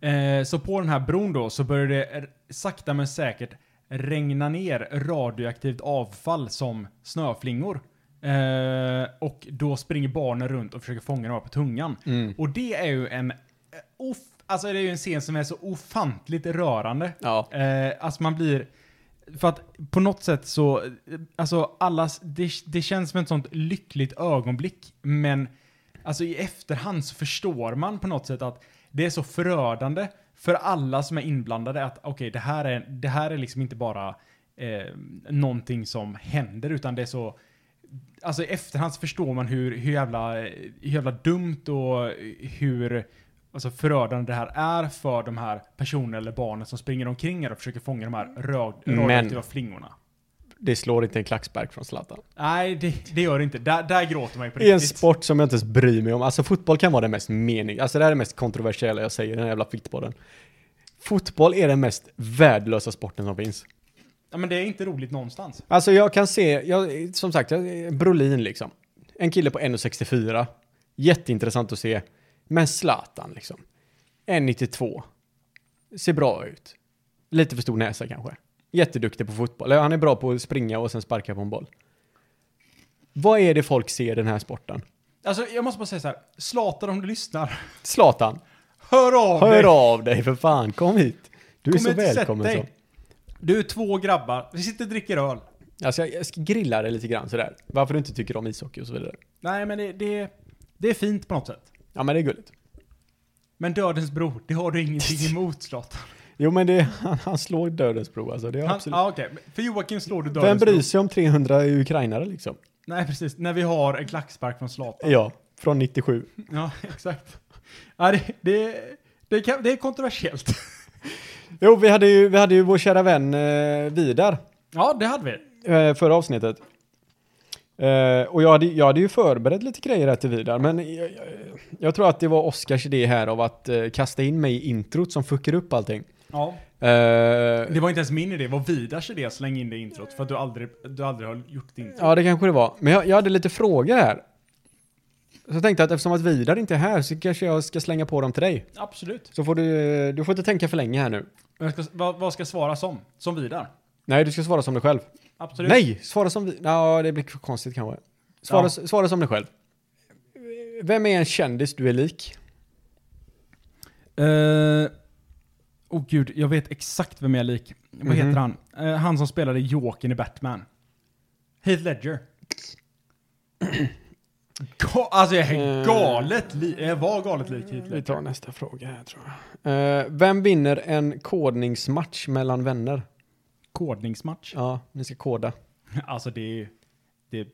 Speaker 1: Eh, så på den här bron då så börjar det r- sakta men säkert regna ner radioaktivt avfall som snöflingor. Eh, och då springer barnen runt och försöker fånga dem på tungan.
Speaker 3: Mm.
Speaker 1: Och det är ju en... eh, Of, alltså det är ju en scen som är så ofantligt rörande.
Speaker 3: Ja.
Speaker 1: Eh, alltså man blir... För att på något sätt så, eh, alltså allas, det, det känns som ett sånt lyckligt ögonblick, men alltså i efterhand så förstår man på något sätt att det är så förödande för alla som är inblandade att okej, det, här är, det här är liksom inte bara eh, någonting som händer, utan det är så, alltså i efterhand så förstår man hur, hur, jävla, hur jävla dumt och hur alltså förödande det här är för de här personerna eller barnen som springer omkring här och försöker fånga de här röd,
Speaker 3: Mm. Men-
Speaker 1: radioaktiva flingorna.
Speaker 3: Det slår inte en klackspark från Zlatan.
Speaker 1: Nej, det, det gör det inte. Där, där gråter man ju på
Speaker 3: I en
Speaker 1: riktigt.
Speaker 3: sport som jag inte ens bryr mig om. Alltså fotboll kan vara den mest mening... Alltså det här är det mest kontroversiella jag säger, den här jävla fotbollen. Fotboll är den mest värdelösa sporten som finns.
Speaker 1: ja, men det är inte roligt någonstans.
Speaker 3: Alltså jag kan se, jag, som sagt, jag, Brolin liksom. En kille på 1,64. Jätteintressant att se. Men Zlatan liksom. 1,92. Ser bra ut. Lite för stor näsa kanske. Jätteduktig på fotboll. Eller, Han är bra på att springa och sen sparka på en boll. Vad är det folk ser i den här sporten?
Speaker 1: Alltså, jag måste bara säga så här. Zlatan om du lyssnar.
Speaker 3: Zlatan,
Speaker 1: Hör av dig!
Speaker 3: hör av dig för fan, kom hit. Du är
Speaker 1: Kom
Speaker 3: så
Speaker 1: hit och sätt
Speaker 3: välkommen så.
Speaker 1: dig. Du är två grabbar. Vi sitter och dricker öl.
Speaker 3: Alltså jag, jag ska grilla dig lite grann sådär. Varför du inte tycker om ishockey och så vidare.
Speaker 1: Nej, men det, det, det är fint på något sätt.
Speaker 3: Ja men det är gulligt.
Speaker 1: Men Dödens bro, det har du ingenting emot Zlatan.
Speaker 3: Jo men det, han, han slår dödens bro alltså, det är
Speaker 1: Han,
Speaker 3: absolut.
Speaker 1: ja, okej. För Joakim slår du Dödens
Speaker 3: Vem
Speaker 1: bro.
Speaker 3: bryr sig om 300 ukrainare liksom?
Speaker 1: Nej, precis. När vi har en klackspark från Zlatan.
Speaker 3: Ja, från 97.
Speaker 1: Ja, exakt. Ja, det, det, det, kan, det är kontroversiellt.
Speaker 3: Jo, vi hade ju, vi hade ju vår kära vän eh, Vidar
Speaker 1: Ja, det hade vi.
Speaker 3: eh, förra avsnittet. Eh, och jag hade, jag hade ju förberett lite grejer här till Vidar, men jag, jag, jag tror att det var Oskars idé här av att eh, kasta in mig i introt som fuckar upp allting.
Speaker 1: Ja.
Speaker 3: Eh,
Speaker 1: Det var inte ens min idé, det var Vidars idé att slänga in det i introt. För att du aldrig, du aldrig har gjort det intro.
Speaker 3: Ja, det kanske det var. Men jag, jag hade lite frågor här. Så jag tänkte att eftersom att Vidar inte är här så kanske jag ska slänga på dem till dig.
Speaker 1: Absolut.
Speaker 3: Så får du, du får inte tänka för länge här nu.
Speaker 1: Men jag ska, vad, vad ska jag svara som? Som Vidar?
Speaker 3: Nej, du ska svara som dig själv.
Speaker 1: Absolut.
Speaker 3: Nej, svara som vi... Ja, det blir för konstigt kanske. Svara,
Speaker 1: Ja.
Speaker 3: svara som dig själv. Vem är en kändis du är lik?
Speaker 1: Åh Eh, oh gud, jag vet exakt vem jag är lik. Vad
Speaker 3: Mhm.
Speaker 1: heter han? Eh, han som spelade Jokern i Batman. Heath Ledger. Ga- alltså jag är
Speaker 3: Eh.
Speaker 1: galet lik, jag var galet lik Heath
Speaker 3: Vi
Speaker 1: Ledger.
Speaker 3: tar nästa fråga här tror jag. Eh, vem vinner en kodningsmatch mellan vänner?
Speaker 1: Kodningsmatch.
Speaker 3: Ja, ni ska koda.
Speaker 1: Alltså det är ju... Det är,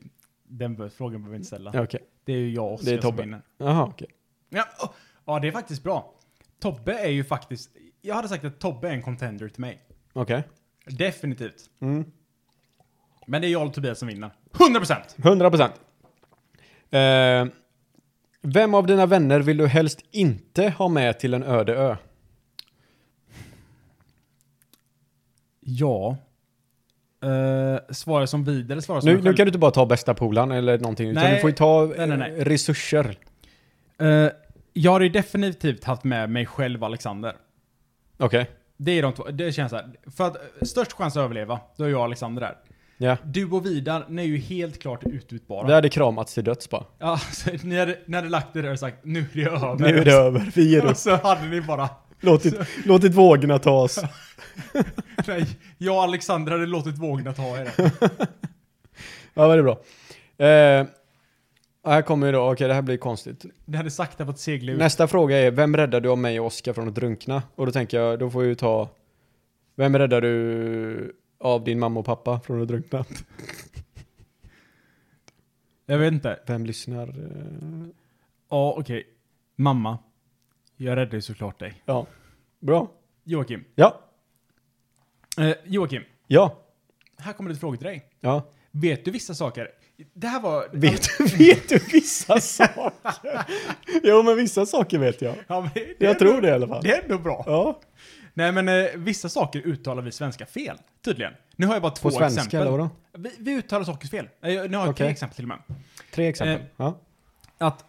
Speaker 1: den be- frågan behöver vi inte ställa.
Speaker 3: Ja, Okej.
Speaker 1: Det är ju jag och
Speaker 3: Det är
Speaker 1: Oskar som
Speaker 3: Tobbe.
Speaker 1: vinner.
Speaker 3: Jaha, okej.
Speaker 1: Ja, åh, ja, det är faktiskt bra. Tobbe är ju faktiskt... Jag hade sagt att Tobbe är en contender till mig.
Speaker 3: Okej.
Speaker 1: Definitivt.
Speaker 3: Mm.
Speaker 1: Men det är jag och Tobias som vinner. 100%!
Speaker 3: 100 procent. Eh, vem av dina vänner vill du helst inte ha med till en öde ö?
Speaker 1: Ja. Uh, svara som vidare, svara som
Speaker 3: Nu,
Speaker 1: mig
Speaker 3: nu
Speaker 1: Alltså, själv.
Speaker 3: kan du inte bara ta bästa polaren eller någonting, utan
Speaker 1: Nej.
Speaker 3: du får ju ta
Speaker 1: Nej, nej, nej.
Speaker 3: eh, resurser.
Speaker 1: Eh, jag har ju definitivt haft med mig själv Alexander.
Speaker 3: Okej.
Speaker 1: Det är de två. Det känns så här. För att eh, störst chans att överleva, då är jag och Alexander där.
Speaker 3: Ja.
Speaker 1: Du och Vidar, ni är ju helt klart utbytbara.
Speaker 3: Vi hade kramats till döds bara.
Speaker 1: Ja, så ni, hade, ni hade lagt er där och sagt nu är det över.
Speaker 3: Nu är det över, vi ger
Speaker 1: Och
Speaker 3: oss.
Speaker 1: så hade ni bara,
Speaker 3: Låtit, låtit vågorna ta oss.
Speaker 1: nej, jag och Alexander hade låtit vågorna ta er.
Speaker 3: Ja, det är bra. Eh, här kommer ju då, okej det här blir konstigt.
Speaker 1: Ni hade sakta fått segla ut.
Speaker 3: Nästa fråga är, vem räddar du av mig och Oskar från att drunkna? Och då tänker jag, då får jag ju ta, vem räddar du av din mamma och pappa från att drunkna?
Speaker 1: Jag vet inte.
Speaker 3: Vem lyssnar? Eh,
Speaker 1: Ja, okej. Mamma, jag räddade ju såklart dig.
Speaker 3: Ja, bra.
Speaker 1: Joakim.
Speaker 3: Ja,
Speaker 1: Eh, Joakim,
Speaker 3: ja,
Speaker 1: här kommer lite frågor till dig.
Speaker 3: ja.
Speaker 1: Vet du vissa saker? Det här var...
Speaker 3: Vet, vet du vissa saker? jo, men vissa saker vet jag.
Speaker 1: Ja, men det är
Speaker 3: Jag
Speaker 1: ändå-
Speaker 3: tror det i alla fall.
Speaker 1: Det är ändå bra.
Speaker 3: Ja.
Speaker 1: Nej men eh, vissa saker uttalar vi svenska fel, tydligen. Nu har jag bara två
Speaker 3: På svenska
Speaker 1: exempel.
Speaker 3: eller vadå?
Speaker 1: Vi, vi uttalar saker fel. Eh, jag- Nu har jag tre
Speaker 3: Okej.
Speaker 1: exempel till och med.
Speaker 3: Tre
Speaker 1: Eh,
Speaker 3: exempel. ja.
Speaker 1: Att,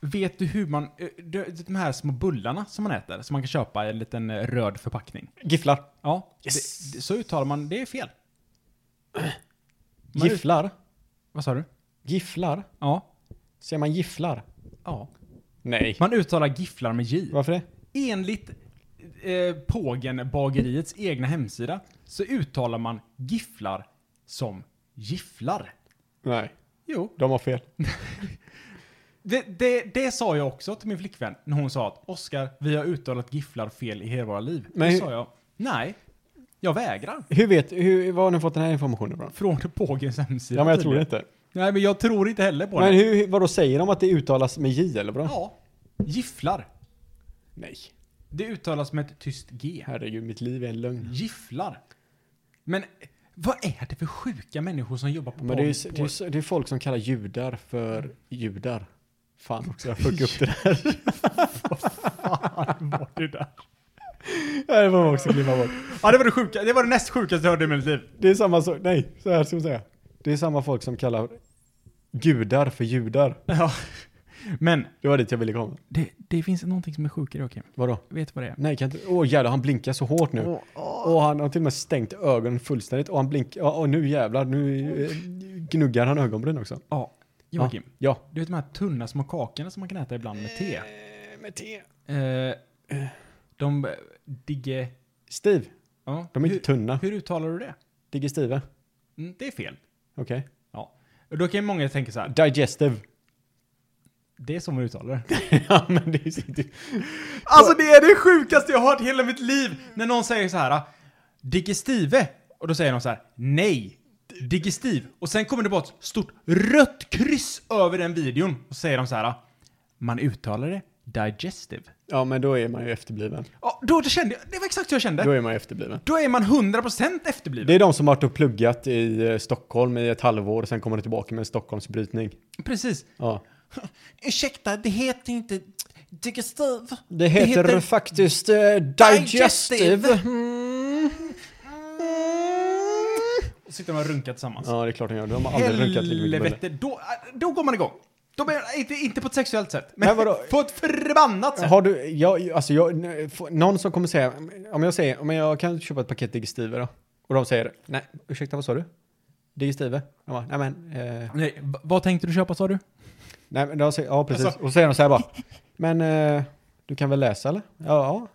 Speaker 1: vet du hur man, eh, de, de här små bullarna som man äter, som man kan köpa i en liten eh, röd förpackning.
Speaker 3: Gifflar.
Speaker 1: Ja,
Speaker 3: Yes.
Speaker 1: det, det, så uttalar man, det är fel. Man, ut-
Speaker 3: Gifflar.
Speaker 1: vad sa du?
Speaker 3: Gifflar.
Speaker 1: Ja.
Speaker 3: Säger man gifflar?
Speaker 1: ja.
Speaker 3: Nej.
Speaker 1: Man uttalar gifflar med j.
Speaker 3: Varför det?
Speaker 1: Enligt eh, Pågen bageriets egna hemsida så uttalar man gifflar som gifflar.
Speaker 3: Nej,
Speaker 1: Jo.
Speaker 3: de har fel.
Speaker 1: Det, det, det sa jag också till min flickvän när hon sa att Oskar, vi har uttalat gifflar fel i hela våra liv.
Speaker 3: Men
Speaker 1: Då
Speaker 3: hur-
Speaker 1: sa jag, nej, jag vägrar.
Speaker 3: Hur vet, hur, var har ni fått den här informationen ifrån?
Speaker 1: Från Pågens hemsida.
Speaker 3: Ja, men jag tror det
Speaker 1: tydligen.
Speaker 3: inte.
Speaker 1: Nej, men jag tror inte heller på
Speaker 3: Men
Speaker 1: det.
Speaker 3: hur, vadå, säger de att det uttalas med J eller vadå?
Speaker 1: Ja, gifflar.
Speaker 3: Nej.
Speaker 1: Det uttalas med ett tyst G.
Speaker 3: Herregud, mitt liv är en lögn.
Speaker 1: Gifflar. Men eh, vad är det för sjuka människor som jobbar på
Speaker 3: Men det är, ju
Speaker 1: Pågens-
Speaker 3: s- det, är, s- det är folk som kallar judar för judar. Fan också, jag fuckade upp det där.
Speaker 1: bort det där.
Speaker 3: Nej, det får man också glömma bort.
Speaker 1: Ja, det var det sjuka. Det var det näst sjukaste jag hörde i mitt liv.
Speaker 3: Det är samma sak, nej, så här ska man säga. Det är samma folk som kallar gudar för judar.
Speaker 1: Ja. Men
Speaker 3: Det var dit jag ville komma.
Speaker 1: det, det finns någonting som är sjukare, Joakim.
Speaker 3: Vadå?
Speaker 1: Vet du vad det är?
Speaker 3: Nej, kan inte... Åh jävlar, han blinkar så hårt nu.
Speaker 1: Åh,
Speaker 3: Och han har till och med stängt ögonen fullständigt. Och han blinkar, ja och nu jävlar, nu eh, gnuggar han ögonbryn också.
Speaker 1: Ja, Joakim.
Speaker 3: Ja.
Speaker 1: Du vet de här tunna små kakorna som man kan äta ibland med te?
Speaker 3: Med te.
Speaker 1: Eh, de eh, digge...
Speaker 3: Steve.
Speaker 1: Ja.
Speaker 3: De är inte tunna.
Speaker 1: hur, hur uttalar du det?
Speaker 3: Digger Steve.
Speaker 1: Mm, det är fel.
Speaker 3: Okej.
Speaker 1: Ja. Och då kan ju många tänka så här,
Speaker 3: Digestive.
Speaker 1: det är så man uttalar det.
Speaker 3: ja men det är ju sitt-
Speaker 1: Alltså det är det sjukaste jag har hört i hela mitt liv! När någon säger så här, "Ah, digestive. Och då säger de så här, nej. Digestiv. Och sen kommer det bara ett stort rött kryss över den videon. Och säger de så här, "Ah, man uttalar det digestive.
Speaker 3: Ja men då är man ju efterbliven.
Speaker 1: Ja, då, då kände jag, det var exakt så jag kände.
Speaker 3: Då är man ju efterbliven.
Speaker 1: Då är man 100% efterbliven.
Speaker 3: Det är de som har varit och pluggat i eh, Stockholm i ett halvår och sen kommer de tillbaka med en Stockholmsbrytning.
Speaker 1: Precis.
Speaker 3: Ja.
Speaker 1: Ursäkta, det heter inte digestiv.
Speaker 3: Det heter,
Speaker 1: heter-
Speaker 3: faktiskt eh,
Speaker 1: Digestive.
Speaker 3: digestive. Mm.
Speaker 1: Och sitter de och runkar tillsammans.
Speaker 3: Ja, det är klart de gör. De har aldrig runkat lika mycket bulle.
Speaker 1: Helvete, då, äh, då går man igång. Då blir, inte, inte på ett sexuellt sätt,
Speaker 3: Nej,
Speaker 1: men
Speaker 3: vadå?
Speaker 1: på ett förbannat sätt.
Speaker 3: Har du, jag, alltså jag, någon som kommer säga, om jag säger, om jag kan köpa ett paket digestiver då? Och de säger, nej, ursäkta vad sa du? Digestiver? Jag bara, nej men, eh,
Speaker 1: Nej, v- vad tänkte du köpa sa du?
Speaker 3: nej men de säger, ja precis.
Speaker 1: Alltså-
Speaker 3: och så säger de så här bara, men eh, du kan väl läsa eller? Ja, ja.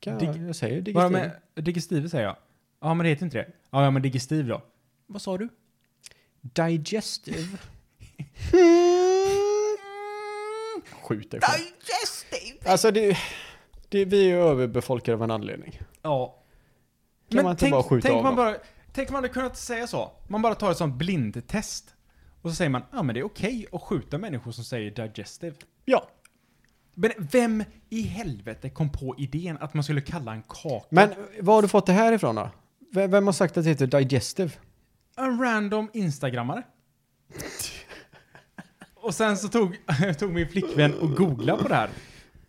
Speaker 3: Kan,
Speaker 1: Dig-
Speaker 3: jag säger
Speaker 1: Bara
Speaker 3: digestiver.
Speaker 1: med digestive säger jag. Ja, men det heter inte det. Ja, ja men digestiv då. Vad sa du?
Speaker 3: Digestive. Skjut dig själv.
Speaker 1: Digestive!
Speaker 3: Alltså det, det, vi är ju överbefolkade av en anledning. Kan
Speaker 1: Ja.
Speaker 3: man
Speaker 1: men
Speaker 3: inte
Speaker 1: tänk,
Speaker 3: bara skjuta
Speaker 1: tänk
Speaker 3: av
Speaker 1: man
Speaker 3: dem?
Speaker 1: bara, tänk man hade kunnat säga så. Man bara tar ett sånt blindtest. Och så säger man, ja men det är okej att skjuta människor som säger digestive.
Speaker 3: Ja.
Speaker 1: Men vem i helvete kom på idén att man skulle kalla en kaka
Speaker 3: Men var har du fått det här ifrån då? Vem, vem har sagt att det heter digestive?
Speaker 1: en random instagrammare? och sen så tog, tog min flickvän och googlade på det här.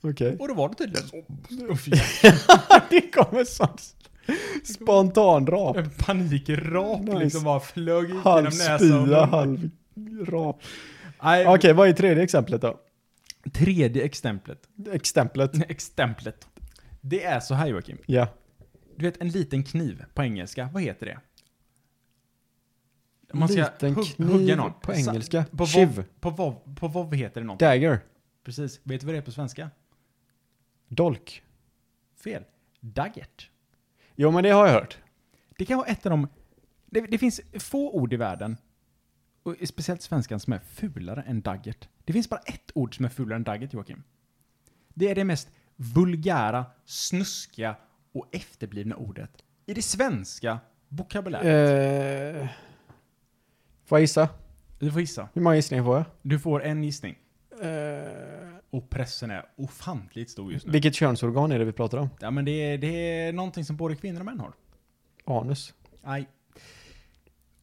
Speaker 3: Okej.
Speaker 1: Och då var det tydligen så. Åh, fy.
Speaker 3: det kommer sån spontanrap.
Speaker 1: En panikrap
Speaker 3: Nice.
Speaker 1: liksom bara flög ut genom
Speaker 3: Halv
Speaker 1: näsan.
Speaker 3: spya, halv rap.
Speaker 1: Nej,
Speaker 3: Okej, vad är tredje exemplet då?
Speaker 1: Tredje exemplet.
Speaker 3: Exemplet.
Speaker 1: Exemplet. Det är så här Joakim.
Speaker 3: Ja.
Speaker 1: Du vet en liten kniv på engelska, vad heter det? Om Man ska
Speaker 3: Liten
Speaker 1: hugg-
Speaker 3: kniv
Speaker 1: hugga någon.
Speaker 3: på
Speaker 1: Sa-
Speaker 3: engelska.
Speaker 1: På
Speaker 3: Tjuv.
Speaker 1: vov, på vov, på vov heter det något.
Speaker 3: Dagger.
Speaker 1: Precis. Vet du vad det är på svenska?
Speaker 3: Dolk.
Speaker 1: Fel. Daggert.
Speaker 3: Jo men det har jag hört.
Speaker 1: Det kan vara ett av de... Det, det finns få ord i världen, och i speciellt svenskan, som är fulare än daggert. Det finns bara ett ord som är fulare än daggert, Joakim. Det är det mest vulgära, snuskiga och efterblivna ordet i det svenska vokabuläret.
Speaker 3: Eh, får jag gissa?
Speaker 1: Du får gissa.
Speaker 3: Hur många gissningar får jag?
Speaker 1: Du får en gissning.
Speaker 3: Eh,
Speaker 1: Och pressen är ofantligt stor just nu.
Speaker 3: vilket könsorgan är det vi pratar om?
Speaker 1: Ja, men det är, det är någonting som både kvinnor och män har.
Speaker 3: Anus.
Speaker 1: Nej.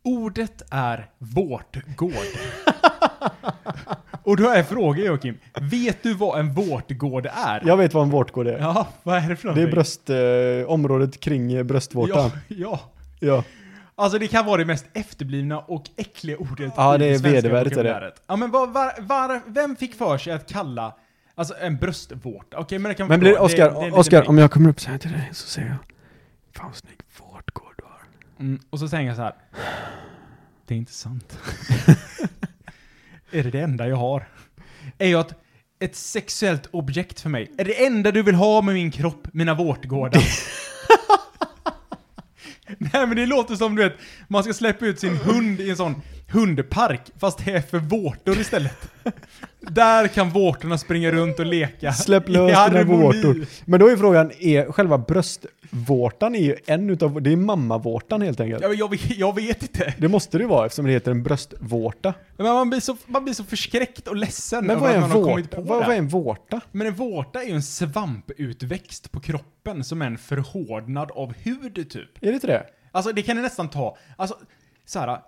Speaker 1: Ordet är vårtgård. Och då är frågan Joakim, vet du vad en vårtgård är?
Speaker 3: Jag vet vad en vårtgård är.
Speaker 1: Ja, vad är det för
Speaker 3: det är
Speaker 1: någonting?
Speaker 3: bröst, eh, området kring eh, bröstvårtan.
Speaker 1: Ja, ja.
Speaker 3: Ja.
Speaker 1: Alltså det kan vara det mest efterblivna och äckliga ordet
Speaker 3: Ja, det är
Speaker 1: svenska
Speaker 3: vedervärdigt, är det.
Speaker 1: vokabuläret. Ja, men vad- var, var, vem fick för sig att kalla Alltså en bröstvårta, okej men det kan
Speaker 3: Men blir det,
Speaker 1: förstå.
Speaker 3: Oskar,
Speaker 1: är en liten
Speaker 3: Oskar,
Speaker 1: prick.
Speaker 3: om jag kommer upp så här till dig så säger jag Fan vad snygg vårtgård du har.
Speaker 1: Mm, och så säger jag så här. Det är inte sant. är det det enda jag har? Är jag ett, ett sexuellt objekt för mig? Är det enda du vill ha med min kropp, mina vårtgårdar? Nej men det låter som du vet, man ska släppa ut sin hund i en sån hundpark, fast det är för vårtor istället. Där kan vårtorna springa runt och leka.
Speaker 3: Släpp
Speaker 1: i
Speaker 3: lös dina
Speaker 1: harmoni.
Speaker 3: vårtor. Men då är frågan, är själva bröstvårtan är ju en utav, det är mammavårtan helt enkelt.
Speaker 1: Ja, men Jag, vet- jag vet inte.
Speaker 3: Det måste det ju vara eftersom det heter en bröstvårta.
Speaker 1: Men man, blir så, man blir så förskräckt och ledsen
Speaker 3: Men
Speaker 1: över
Speaker 3: vad är
Speaker 1: att man
Speaker 3: en
Speaker 1: har kommit
Speaker 3: vårta?
Speaker 1: på
Speaker 3: Vad,
Speaker 1: det.
Speaker 3: vad är en vårta?
Speaker 1: Men en vårta är ju en svamputväxt på kroppen som är en förhårdnad av hud typ.
Speaker 3: Är det inte det?
Speaker 1: Alltså det kan jag nästan ta, alltså så här.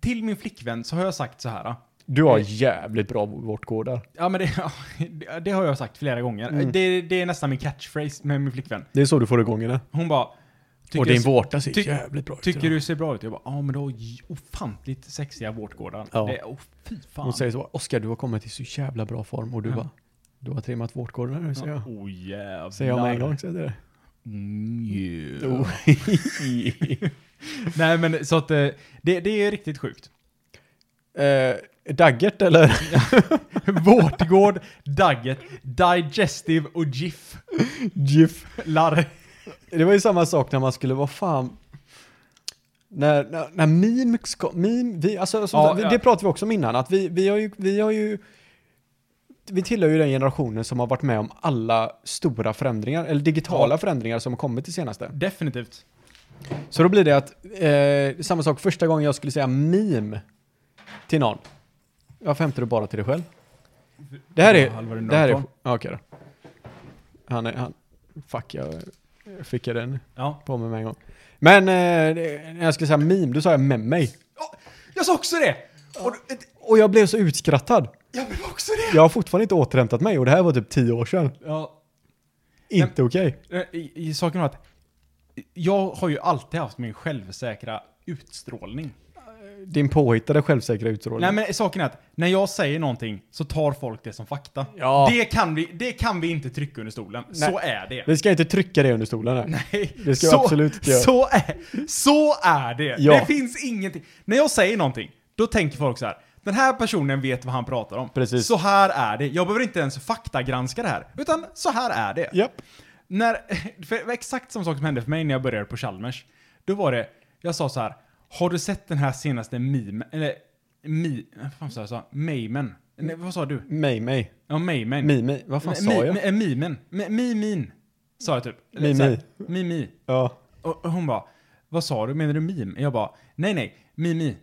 Speaker 1: Till min flickvän så har jag sagt så här.
Speaker 3: Du
Speaker 1: Eh.
Speaker 3: har jävligt bra vårtgårdar.
Speaker 1: Ja men det, ja, det- det har jag sagt flera gånger.
Speaker 3: Mm.
Speaker 1: Det, det är nästan min catchphrase med min flickvän.
Speaker 3: Det är så du får igång henne.
Speaker 1: Hon bara...
Speaker 3: Och
Speaker 1: "Tycker
Speaker 3: din
Speaker 1: jag-
Speaker 3: vårta ser
Speaker 1: ty-
Speaker 3: jävligt bra ut.
Speaker 1: Tycker du ser bra ut? Jag bara, ja men du har ju ofantligt sexiga vårtgårdar.
Speaker 3: Ja.
Speaker 1: Det, oh, fy fan.
Speaker 3: Hon säger så, Oskar du har kommit i så jävla bra form och du
Speaker 1: Ja.
Speaker 3: bara, du har trimmat vårtgården här, säger
Speaker 1: ja.
Speaker 3: jag.
Speaker 1: Oh jävlar.
Speaker 3: Säger jag med en gång, säger jag det.
Speaker 1: Mm, yeah.
Speaker 3: Oh.
Speaker 1: Nej men så att eh, det, det är riktigt sjukt.
Speaker 3: Eh, daggert eller?
Speaker 1: Vårtgård, Dagget, Digestive och GIF.
Speaker 3: GIF.
Speaker 1: Larr.
Speaker 3: Det var ju samma sak när man skulle, vad fan. När, när, när memes kom, meme, vi, alltså, som
Speaker 1: Ja,
Speaker 3: sagt,
Speaker 1: ja.
Speaker 3: det pratade vi också om innan, att vi, vi har ju, vi har ju, vi tillhör ju den generationen som har varit med om alla stora förändringar, eller digitala
Speaker 1: Ja.
Speaker 3: förändringar som har kommit det senaste.
Speaker 1: Definitivt.
Speaker 3: Så då blir det att, eh, samma sak första gången jag skulle säga meme till någon. Varför hämtar du bara till dig själv? Det här
Speaker 1: Ja, Alvar
Speaker 3: är...
Speaker 1: Nordholm.
Speaker 3: Det här är... ja, Okej då. Han är... Han, fuck, jag fick jag den
Speaker 1: Ja.
Speaker 3: på mig med en gång. Men eh, det- när jag skulle säga meme, då sa jag med mig.
Speaker 1: Jag sa också det! Och, eh,
Speaker 3: Och jag blev så utskrattad.
Speaker 1: jag blev också det!
Speaker 3: Jag har fortfarande inte återhämtat mig och det här var typ tio år sedan.
Speaker 1: Ja,
Speaker 3: Inte okej.
Speaker 1: eh, i, i, saken var att jag har ju alltid haft min självsäkra utstrålning.
Speaker 3: Din påhittade självsäkra utstrålning.
Speaker 1: Nej men saken är att när jag säger någonting så tar folk det som fakta.
Speaker 3: Ja.
Speaker 1: Det, kan vi, det kan vi inte trycka under stolen. Så är det.
Speaker 3: Vi ska inte trycka det under stolen här.
Speaker 1: Nej,
Speaker 3: Det ska vi absolut inte göra.
Speaker 1: Så är, så är det.
Speaker 3: Ja.
Speaker 1: Det finns ingenting. När jag säger någonting, då tänker folk så här. Den här personen vet vad han pratar om.
Speaker 3: Precis.
Speaker 1: Så här är det. Jag behöver inte ens faktagranska det här. Utan så här är det.
Speaker 3: Japp.
Speaker 1: När, för det var exakt samma sak som hände för mig när jag började på Chalmers. Då var det, jag sa så här. Har du sett den här senaste meme, eller mi, vad sa jag? sa? Memen. Nej, vad sa du?
Speaker 3: Mig, mig.
Speaker 1: Ja, memen.
Speaker 3: Mi, mi. Vad fan sa
Speaker 1: Mi-
Speaker 3: jag?
Speaker 1: mi- eh, Mimen. Mi- Mimin. Sa jag typ. Eller
Speaker 3: Mimi.
Speaker 1: så här, Mimi.
Speaker 3: Ja.
Speaker 1: Och och hon bara, vad sa du? Menar du meme? Jag bara, nej nej, mimi.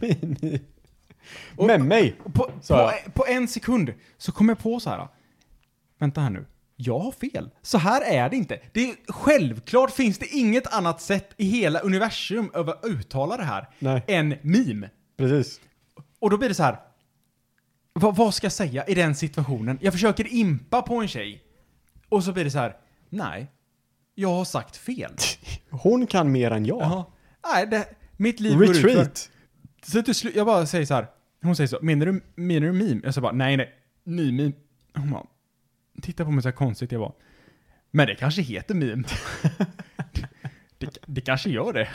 Speaker 3: Mimi. Med mig.
Speaker 1: Och På,
Speaker 3: Sa
Speaker 1: på, eh,
Speaker 3: jag.
Speaker 1: på en sekund så kom jag på så här. vänta här nu. Jag har fel. Så här är det inte. Det är, självklart finns det inget annat sätt i hela universum över att uttala det här
Speaker 3: Nej.
Speaker 1: än meme.
Speaker 3: Precis.
Speaker 1: Och då blir det så här. Vad, vad ska jag säga i den situationen? Jag försöker impa på en tjej. Och så blir det så här. nej, jag har sagt fel.
Speaker 3: Hon kan mer än jag.
Speaker 1: Jaha. Nej, det, mitt liv går ut för-
Speaker 3: Retreat.
Speaker 1: Så till slut, jag bara säger så här. Hon säger så, menar du, menar du meme? Jag sa bara, nej nej, ny meme. Hon bara, tittar på mig så här konstigt, jag bara, Men det kanske heter meme. det, det kanske gör det.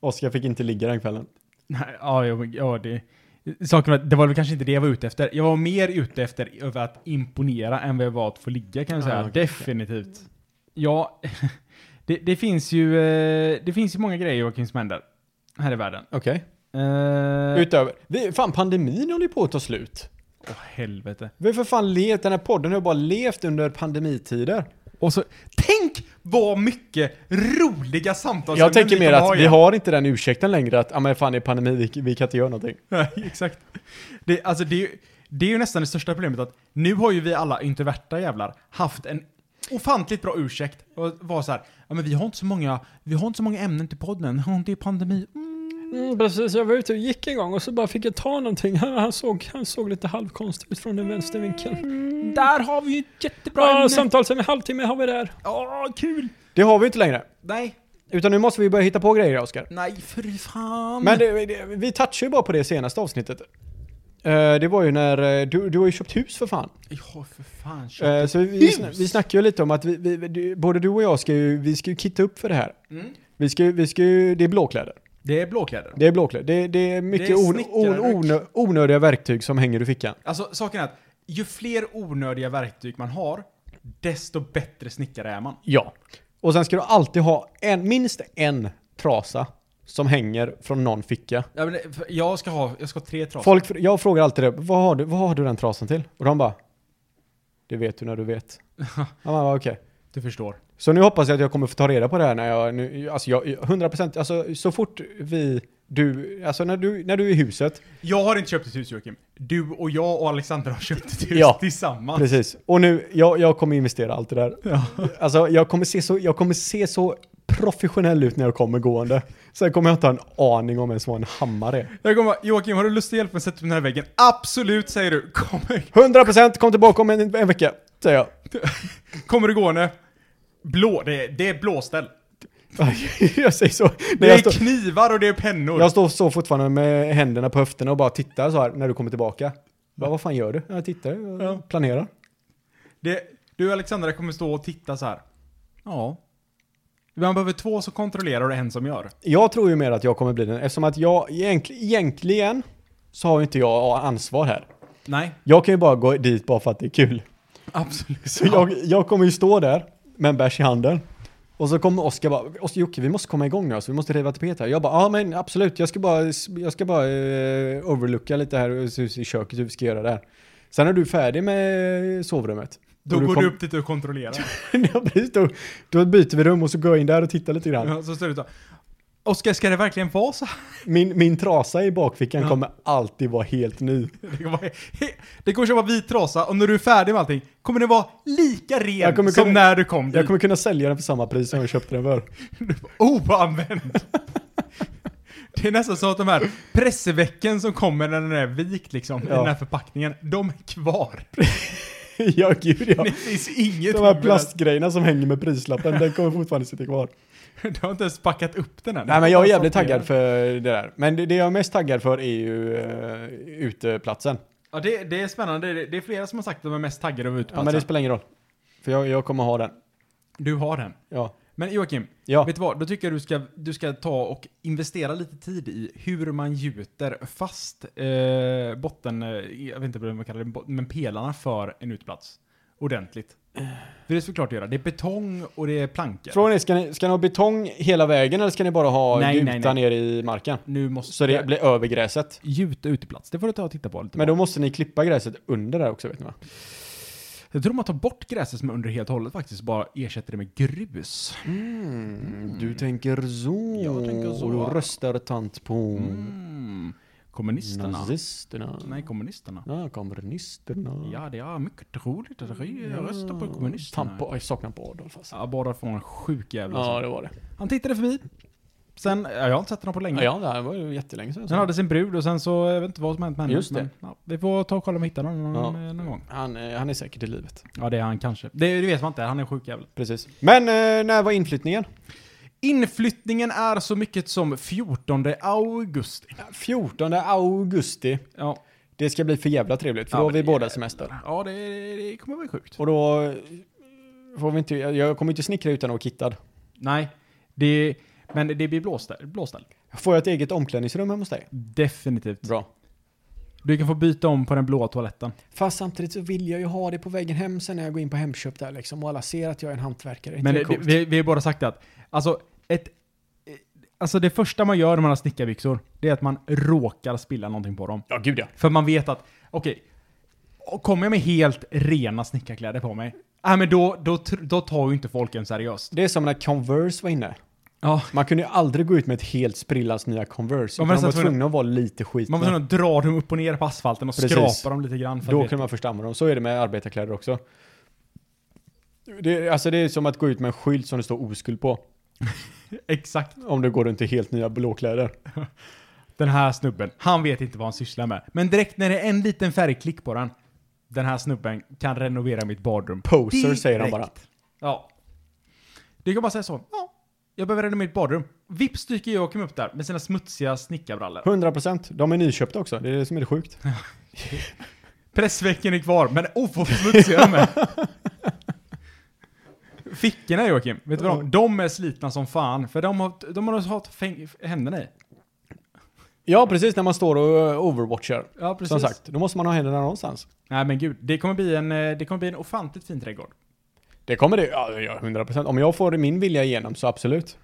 Speaker 3: Oskar fick inte ligga den kvällen.
Speaker 1: Nej, ja, ja, men- ja det... Saken var, att det var väl kanske inte det jag var ute efter. Jag var mer ute efter över att imponera än vad jag var att få ligga kan jag
Speaker 3: Ah,
Speaker 1: säga.
Speaker 3: okej, okej.
Speaker 1: Definitivt. Ja, det, det finns ju... eh, Det finns ju många grejer Joakim som händer här i världen.
Speaker 3: Okej.
Speaker 1: Eh,
Speaker 3: Utöver. Vi, fan, pandemin håller ju på att ta slut.
Speaker 1: Åh helvete.
Speaker 3: Vi har för fan levt, den här podden har ju bara levt under pandemitider.
Speaker 1: Och så, tänk vad mycket roliga samtal
Speaker 3: jag tänker mer att Alltså, vi
Speaker 1: igen.
Speaker 3: har inte den ursäkten längre att, ja men fan det är pandemi, vi, vi kan inte göra någonting.
Speaker 1: Nej, exakt. Det, alltså, det, är ju- det är ju nästan det största problemet att nu har ju vi alla introverta jävlar haft en ofantligt bra ursäkt och var så här, ja men vi har inte så många, vi har inte så många ämnen till podden, Ja, det är pandemi. Mm.
Speaker 4: Mm, precis, jag var ute och gick en gång och så bara fick jag ta någonting. Han, han, såg, han såg lite halvkonstig ut från den vänstervinkeln.
Speaker 1: Där har vi ju ett jättebra
Speaker 4: Bra
Speaker 1: ämne.
Speaker 4: ja, samtal sen en halvtimme har vi där.
Speaker 1: Ja, kul.
Speaker 3: Det har vi inte längre.
Speaker 1: Nej,
Speaker 3: Utan nu måste vi börja hitta på grejer, Oskar.
Speaker 1: nej för fan.
Speaker 3: Men det, det, vi touchade ju bara på det senaste avsnittet. Eh, det var ju när, eh, du, du har ju köpt hus för fan.
Speaker 1: Ja, för fan. kör.
Speaker 3: Eh, så vi, vi,
Speaker 1: hus?
Speaker 3: sn- vi snackade ju lite om att vi, vi, du- både du och jag ska ju, vi ska ju kitta upp för det här.
Speaker 1: Mm.
Speaker 3: Vi ska, ju- vi ska ju, det är blåkläder.
Speaker 1: Det är blåkläder.
Speaker 3: Det är blåkläder. Det, det är mycket
Speaker 1: Det är
Speaker 3: on, on,
Speaker 1: snickare-
Speaker 3: onö, onödiga verktyg som hänger i fickan.
Speaker 1: Alltså saken är att ju fler onödiga verktyg man har, desto bättre snickare är man.
Speaker 3: Ja. Och sen ska du alltid ha en, minst en trasa som hänger från någon ficka.
Speaker 1: Ja, men det- för jag ska ha, jag ska ha tre trasor.
Speaker 3: Folk, fr- jag frågar alltid det, vad har, du, vad har du den trasan till? Och de bara, det vet du när du vet. ja, man bara, okej.
Speaker 1: Du förstår.
Speaker 3: Så nu hoppas jag att jag kommer få ta reda på det här när jag, nu, alltså jag, 100%, alltså så fort vi, du, alltså när du, när du är i huset,
Speaker 1: Jag har inte köpt ett hus Joakim. Du och jag och Alexander har köpt ett hus
Speaker 3: Ja,
Speaker 1: tillsammans.
Speaker 3: precis. Och nu, jag, jag kommer investera allt det där. Alltså jag kommer, se så, jag kommer se så professionell ut när jag kommer gående. Sen kommer jag inte ha en aning om ens vad en hammare är.
Speaker 1: Jag kommer bara, Joakim har du lust att hjälpa mig att sätta upp den här väggen? Absolut säger du. Kommer,
Speaker 3: 100% kom tillbaka om en, en vecka, säger jag.
Speaker 1: kommer du gående? Blå, det är, det är blåställ.
Speaker 3: jag säger så.
Speaker 1: Det
Speaker 3: Nej,
Speaker 1: är
Speaker 3: jag, står-
Speaker 1: knivar och det är pennor.
Speaker 3: jag står så fortfarande med händerna på höfterna och bara tittar så här när du kommer tillbaka. Bara, vad fan gör du? Jag tittar, jag
Speaker 1: Ja.
Speaker 3: planerar.
Speaker 1: Det, du och Alexandra kommer stå och titta så här. Ja. Man behöver två som kontrollerar och en som gör.
Speaker 3: Jag tror ju mer att jag kommer bli den, eftersom att jag egent, egentligen så har ju inte jag ansvar här.
Speaker 1: Nej,
Speaker 3: Jag kan ju bara gå dit bara för att det är kul.
Speaker 1: absolut.
Speaker 3: Så jag, jag kommer ju stå där med en bärs i handen. Och så kommer Oskar bara, Oskar Jocke vi måste komma igång nu alltså, vi måste riva tapet här. Jag bara, ja men absolut, jag ska bara, jag ska bara eh, overlooka lite här och se hur- i köket hur vi ska göra det här. Sen är du färdig med sovrummet.
Speaker 1: Då
Speaker 3: Och
Speaker 1: går
Speaker 3: kom-
Speaker 1: du upp dit och kontrollerar.
Speaker 3: Ja, precis, då, då byter vi rum och så går jag in där och tittar lite grann.
Speaker 1: Ja, Så står du så. här, Oskar, ska det verkligen vara så här?
Speaker 3: Min, min trasa i bakfickan
Speaker 1: Ja.
Speaker 3: kommer alltid vara helt ny.
Speaker 1: Det går, vara, det går att köpa vit trasa och när du är färdig med allting kommer den vara lika ren
Speaker 3: Jag kommer
Speaker 1: som
Speaker 3: kunna-
Speaker 1: när du kom
Speaker 3: Jag
Speaker 1: dit.
Speaker 3: kommer kunna sälja den för samma pris som jag köpte den för.
Speaker 1: Oanvänd! det är nästan så att de här pressvecken som kommer när den är vikt liksom, i
Speaker 3: Ja.
Speaker 1: den här förpackningen, de är kvar.
Speaker 3: ja, gud ja.
Speaker 1: Det finns inget
Speaker 3: De här
Speaker 1: med
Speaker 3: plastgrejerna som hänger med prislappen, den kommer fortfarande sitta kvar.
Speaker 1: den. Du har inte ens packat upp den än.
Speaker 3: Nej men jag är jävligt taggad för det där. Men det, det jag är mest taggad för är ju eh, uteplatsen.
Speaker 1: Ja, det, det är spännande. Det, det är flera som har sagt att de är mest taggade över
Speaker 3: Ja
Speaker 1: uteplatsen.
Speaker 3: men det spelar ingen roll. För jag, jag kommer ha den.
Speaker 1: Du har den.
Speaker 3: Ja.
Speaker 1: Men Joakim,
Speaker 3: Ja.
Speaker 1: vet du vad? Då tycker jag du ska, du ska ta och investera lite tid i hur man gjuter fast eh, botten, eh, jag vet inte vad man kallar det, bot- men pelarna för en utplats. Ordentligt. För det är såklart att göra. Det är betong och det är plankor.
Speaker 3: Frågan är, ska ni, ska ni ha betong hela vägen eller ska ni bara ha
Speaker 1: Nej,
Speaker 3: gjuta
Speaker 1: nej, nej.
Speaker 3: ner i marken?
Speaker 1: Nu måste
Speaker 3: Så det blir över gräset.
Speaker 1: gjuta uteplats. Det får du ta och titta på lite.
Speaker 3: Men
Speaker 1: på.
Speaker 3: då måste ni klippa gräset under där också vet ni va?
Speaker 1: Jag tror man tar bort gräset som är under helt och hållet faktiskt, bara ersätter det med grus.
Speaker 3: Mm. Du tänker så.
Speaker 1: Mm. Jag tänker så.
Speaker 3: Och du röstar tant på
Speaker 1: Mm. Kommunisterna.
Speaker 3: nazisterna.
Speaker 1: Nej, kommunisterna.
Speaker 3: Ja, kommunisterna.
Speaker 1: Ja, det är mycket roligt att rösta på kommunisterna.
Speaker 3: Fan, på, jag saknar på Adolf alltså.
Speaker 1: Ja, bara från en sjuk jävla
Speaker 3: Ja,
Speaker 1: sån.
Speaker 3: det var det.
Speaker 1: Han tittade förbi. Sen, ja, jag har inte sett honom på länge.
Speaker 3: Ja, ja, det här var ju jättelänge sedan. jag
Speaker 1: Sen
Speaker 3: såg
Speaker 1: hade sin brud och sen så, jag vet inte vad som hänt med henne.
Speaker 3: Just det.
Speaker 1: Men, ja, vi får ta och kolla om vi hittar honom någon,
Speaker 3: Ja.
Speaker 1: eh, någon gång.
Speaker 3: Han, eh, han är säkert i livet.
Speaker 1: Ja, det är han kanske. Det, det vet man inte, han är en sjuk jävel.
Speaker 3: Precis. Men eh, när var inflyttningen?
Speaker 1: Inflyttningen är så mycket som 14 augusti.
Speaker 3: 14 augusti.
Speaker 1: Ja,
Speaker 3: Det ska bli för jävla trevligt, för
Speaker 1: Ja,
Speaker 3: då har
Speaker 1: men
Speaker 3: vi
Speaker 1: det-
Speaker 3: båda semester.
Speaker 1: ja det, det kommer vara sjukt.
Speaker 3: Och då eh, får vi inte, jag, jag kommer inte snickra utan att vara kittad.
Speaker 1: Nej, det, men det blir blåställ. blåställ.
Speaker 3: Får jag ett eget omklädningsrum hemma hos dig?
Speaker 1: Definitivt.
Speaker 3: Bra.
Speaker 1: Du kan få byta om på den blåa toaletten.
Speaker 3: Fast samtidigt så vill jag ju ha det på vägen hem sen när jag går in på Hemköp där liksom och alla ser att jag är en hantverkare. Inte
Speaker 1: Men
Speaker 3: det
Speaker 1: det,
Speaker 3: coolt?
Speaker 1: vi, vi har båda sagt att, alltså, ett, eh, alltså det första man gör när man har snickarbyxor, det är att man råkar spilla någonting på dem.
Speaker 3: Ja, gud ja.
Speaker 1: För man vet att, okej, och kommer jag med helt rena snickarkläder på mig, äh, men då, då, tr- då tar ju inte folk en seriöst.
Speaker 3: Det är som när Converse var inne.
Speaker 1: Ja.
Speaker 3: Man kunde ju aldrig gå ut med ett helt sprillans nya Converse.
Speaker 1: Man
Speaker 3: Utan
Speaker 1: var
Speaker 3: man var
Speaker 1: nästan tvungen-
Speaker 3: tvungen att vara lite skitna.
Speaker 1: Man får sådana, dra dem upp och ner på asfalten och
Speaker 3: Precis.
Speaker 1: skrapa dem lite grann. För
Speaker 3: Då
Speaker 1: att det,
Speaker 3: kunde man först använda dem. Så är det med arbetarkläder också. Det, alltså det är som att gå ut med en skylt som det står oskuld på.
Speaker 1: Exakt.
Speaker 3: Om du går runt i helt nya blåkläder.
Speaker 1: Den här snubben, han vet inte vad han sysslar med. Men direkt när det är en liten färgklick på den, den här snubben kan renovera mitt badrum.
Speaker 3: Poser säger han
Speaker 1: Direkt.
Speaker 3: bara.
Speaker 1: Ja. Du kan bara säga så. Ja, jag behöver renovera mitt badrum. Vips dyker Joakim upp där med sina smutsiga snickarbrallor.
Speaker 3: 100%. De är nyköpta också. Det är det som är det sjukt.
Speaker 1: Pressvecken är kvar, men oh vad smutsiga de är. Fickorna Joakim, vet du vad de, de är slitna som fan, för de har, de har haft fäng- händerna i.
Speaker 3: Ja, precis. När man står och eh, overwatchar.
Speaker 1: Ja, precis.
Speaker 3: Som sagt, då måste man ha händerna någonstans.
Speaker 1: Nej men gud, det kommer bli en, eh, det kommer bli en ofantligt fin trädgård.
Speaker 3: Det kommer det, ja, ja, 100%. Om jag får min vilja igenom så absolut.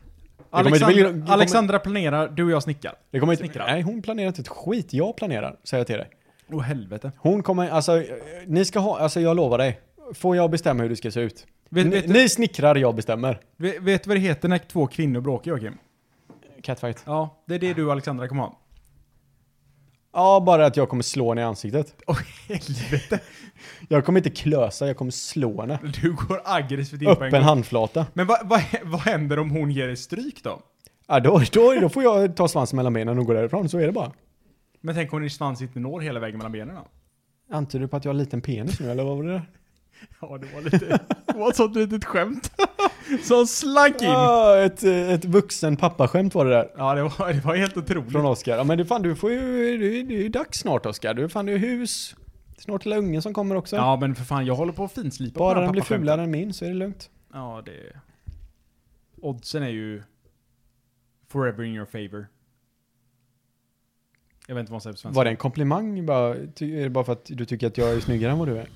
Speaker 3: kommer inte
Speaker 1: Alexandra,
Speaker 3: bli- det kommer-
Speaker 1: Alexandra planerar, du och jag snickar.
Speaker 3: Det kommer inte,
Speaker 1: Snickrar.
Speaker 3: nej, hon planerar inte ett skit. Jag planerar, säger jag till dig.
Speaker 1: Åh helvete.
Speaker 3: Hon kommer, alltså, eh, ni ska ha, alltså jag lovar dig. Får jag bestämma hur du ska se ut?
Speaker 1: Vet,
Speaker 3: Ni,
Speaker 1: vet,
Speaker 3: ni snickrar, jag bestämmer.
Speaker 1: vet, vet du vad det heter när två kvinnor bråkar Joakim?
Speaker 3: Catfight.
Speaker 1: Ja, det är det du och Alexandra kommer ha.
Speaker 3: Ja, bara att jag kommer slå henne i ansiktet.
Speaker 1: Åh helvete.
Speaker 3: Jag kommer inte klösa, jag kommer slå henne.
Speaker 1: Du går aggressivt in på en
Speaker 3: Öppen
Speaker 1: gång.
Speaker 3: handflata.
Speaker 1: Men vad, vad, vad händer om hon ger dig stryk då?
Speaker 3: Ja, då, då, då får jag ta svansen mellan benen och gå därifrån, så är det bara.
Speaker 1: Men tänk om din svans inte når hela vägen mellan benen då?
Speaker 3: Antyder du på att jag har liten penis nu, eller vad var det? där?
Speaker 1: Ja, det var lite... Det var ett sånt litet skämt. Som slank in.
Speaker 3: Ah, ett, eh, ett vuxen pappaskämt var det där.
Speaker 1: Ja, det var, det var helt otroligt.
Speaker 3: Från Oskar. Ja men du fan du får ju, det är det är ju dags snart Oskar. Du fan du är hus. Snart lilla ungen som kommer också.
Speaker 1: Ja, men för fan, jag håller på att finslipa på
Speaker 3: Bara
Speaker 1: den här
Speaker 3: den blir
Speaker 1: pappaskämten.
Speaker 3: fulare än min så är det lugnt.
Speaker 1: Ja, det... Oddsen är ju... Forever in your favor. Jag vet inte vad man säger på svenska.
Speaker 3: Var det en komplimang bara? Ty, är det bara för att du tycker att jag är snyggare än vad du är?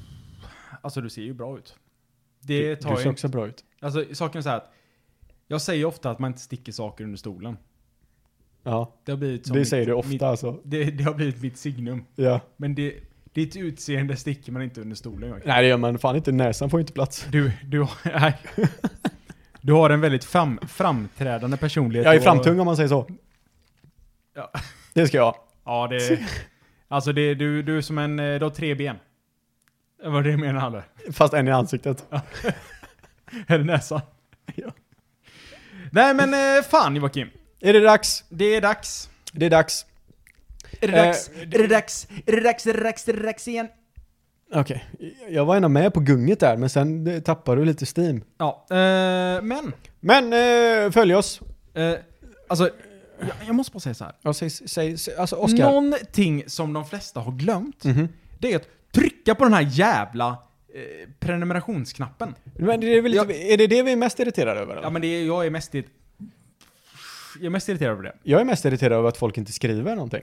Speaker 1: Alltså, du ser ju bra ut.
Speaker 3: Du,
Speaker 1: Det tar
Speaker 3: du
Speaker 1: jag
Speaker 3: ser
Speaker 1: inte-
Speaker 3: också bra ut.
Speaker 1: Alltså, saken är så här att... Jag säger ofta att man inte sticker saker under stolen.
Speaker 3: Ja,
Speaker 1: Det har blivit som
Speaker 3: det
Speaker 1: mitt-
Speaker 3: säger du ofta
Speaker 1: Mitt,
Speaker 3: alltså.
Speaker 1: det, det har blivit mitt signum.
Speaker 3: Ja.
Speaker 1: Men det, ditt utseende sticker man inte under stolen. Joakim.
Speaker 3: Nej det gör man fan inte. Näsan får ju inte plats.
Speaker 1: Du, du, har- nej. du har en väldigt fram, framträdande personlighet.
Speaker 3: Jag är
Speaker 1: och-
Speaker 3: framtung om man säger så.
Speaker 1: Ja.
Speaker 3: Det ska jag.
Speaker 1: Ja, det... Alltså, det, du, du är som en... eh, Du har tre ben. Vad var det jag menade Halle?
Speaker 3: Fast en i ansiktet.
Speaker 1: Eller näsan.
Speaker 3: Ja.
Speaker 1: Nej men eh, fan Joakim.
Speaker 3: Är det dags?
Speaker 1: Det är dags.
Speaker 3: Det är dags.
Speaker 1: Är det
Speaker 3: Eh,
Speaker 1: dags? Är det dags? Är det dags? Är det dags? Är det dags igen?
Speaker 3: Okej. Jag var ändå med på gunget där men sen eh, tappar du lite steam.
Speaker 1: Ja, eh, men.
Speaker 3: Men eh, följ oss.
Speaker 1: Eh, alltså, jag, jag måste bara säga så här.
Speaker 3: Ja, säg, säg, säg, alltså Oskar.
Speaker 1: Någonting som de flesta har glömt,
Speaker 3: Mhm.
Speaker 1: det är att trycka på den här jävla eh, prenumerationsknappen.
Speaker 3: Men det är, väl lite,
Speaker 1: Jag-
Speaker 3: är det det vi är mest irriterade över? eller?
Speaker 1: Ja men det är, jag är mest irriterad... Jag är mest irriterad över det.
Speaker 3: Jag är mest irriterad över att folk inte skriver någonting.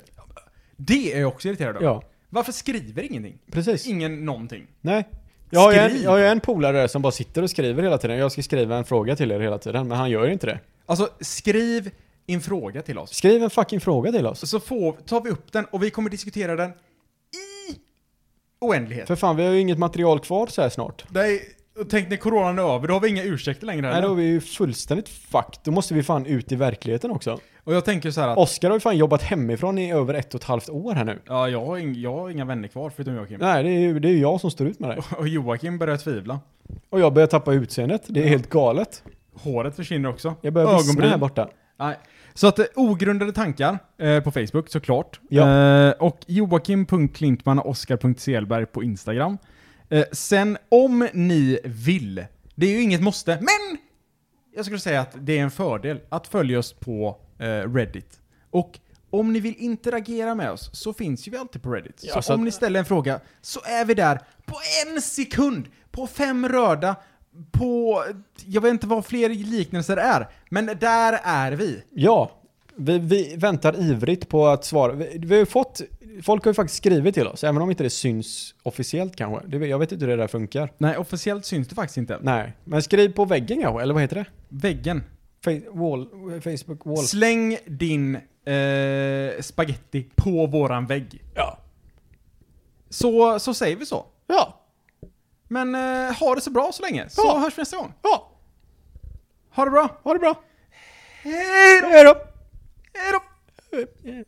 Speaker 1: Det är jag också irriterad över.
Speaker 3: Ja,
Speaker 1: Varför skriver ingenting?
Speaker 3: precis.
Speaker 1: Ingen någonting.
Speaker 3: Nej. Jag har, ju en,
Speaker 1: Skriv.
Speaker 3: jag har ju en polare där som bara sitter och skriver hela tiden. Jag ska skriva en fråga till er hela tiden, men han gör ju inte det.
Speaker 1: Alltså, skriv en fråga till oss.
Speaker 3: Skriv en fucking fråga till oss.
Speaker 1: Så får, tar vi upp den och vi kommer diskutera den i oändlighet.
Speaker 3: För fan, vi har ju inget material kvar så här snart.
Speaker 1: Nej, och tänk när coronan är över, då har vi inga ursäkter längre.
Speaker 3: Nej,
Speaker 1: eller?
Speaker 3: då är vi ju fullständigt fucked. Då måste vi fan ut i verkligheten också.
Speaker 1: Och jag tänker så här att...
Speaker 3: Oskar har ju fan jobbat hemifrån i över ett och ett halvt år här nu.
Speaker 1: Ja, jag har, ing, jag har inga vänner kvar förutom Joakim.
Speaker 3: Nej, det är ju det är ju jag som står ut med det.
Speaker 1: Och Joakim börjar tvivla.
Speaker 3: Och jag börjar tappa utseendet. Det är helt galet.
Speaker 1: Håret försvinner också.
Speaker 3: Jag börjar vissna här borta.
Speaker 1: Nej. Så att eh, ogrundade tankar eh, på Facebook såklart.
Speaker 3: Ja.
Speaker 1: Eh, och joakim.klintman och oskar.selberg på Instagram. Eh, sen om ni vill, det är ju inget måste, men jag skulle säga att det är en fördel att följa oss på eh, Reddit. Och om ni vill interagera med oss så finns ju vi alltid på Reddit.
Speaker 3: Ja,
Speaker 1: så,
Speaker 3: så
Speaker 1: om
Speaker 3: att-
Speaker 1: ni ställer en fråga så är vi där på en sekund! På fem röda på, jag vet inte vad fler liknelser är, men där är vi.
Speaker 3: Ja, vi, vi väntar ivrigt på att svara. Vi, vi har ju fått, folk har ju faktiskt skrivit till oss, även om inte det syns officiellt kanske. Det, jag vet inte hur det där funkar.
Speaker 1: Nej, officiellt syns det faktiskt inte.
Speaker 3: Nej, men skriv på väggen kanske, eller vad heter det?
Speaker 1: Väggen.
Speaker 3: Fa- wall, Facebook wall.
Speaker 1: Släng din eh, spaghetti på våran vägg.
Speaker 3: Ja.
Speaker 1: Så, så säger vi så.
Speaker 3: Ja.
Speaker 1: Men eh, ha det så bra så länge, så
Speaker 3: Ja.
Speaker 1: hörs vi nästa gång.
Speaker 3: Ja.
Speaker 1: Ha det bra!
Speaker 3: Ha det bra.
Speaker 1: Hej då!
Speaker 3: Hej då.
Speaker 1: Hej då!
Speaker 3: Eh,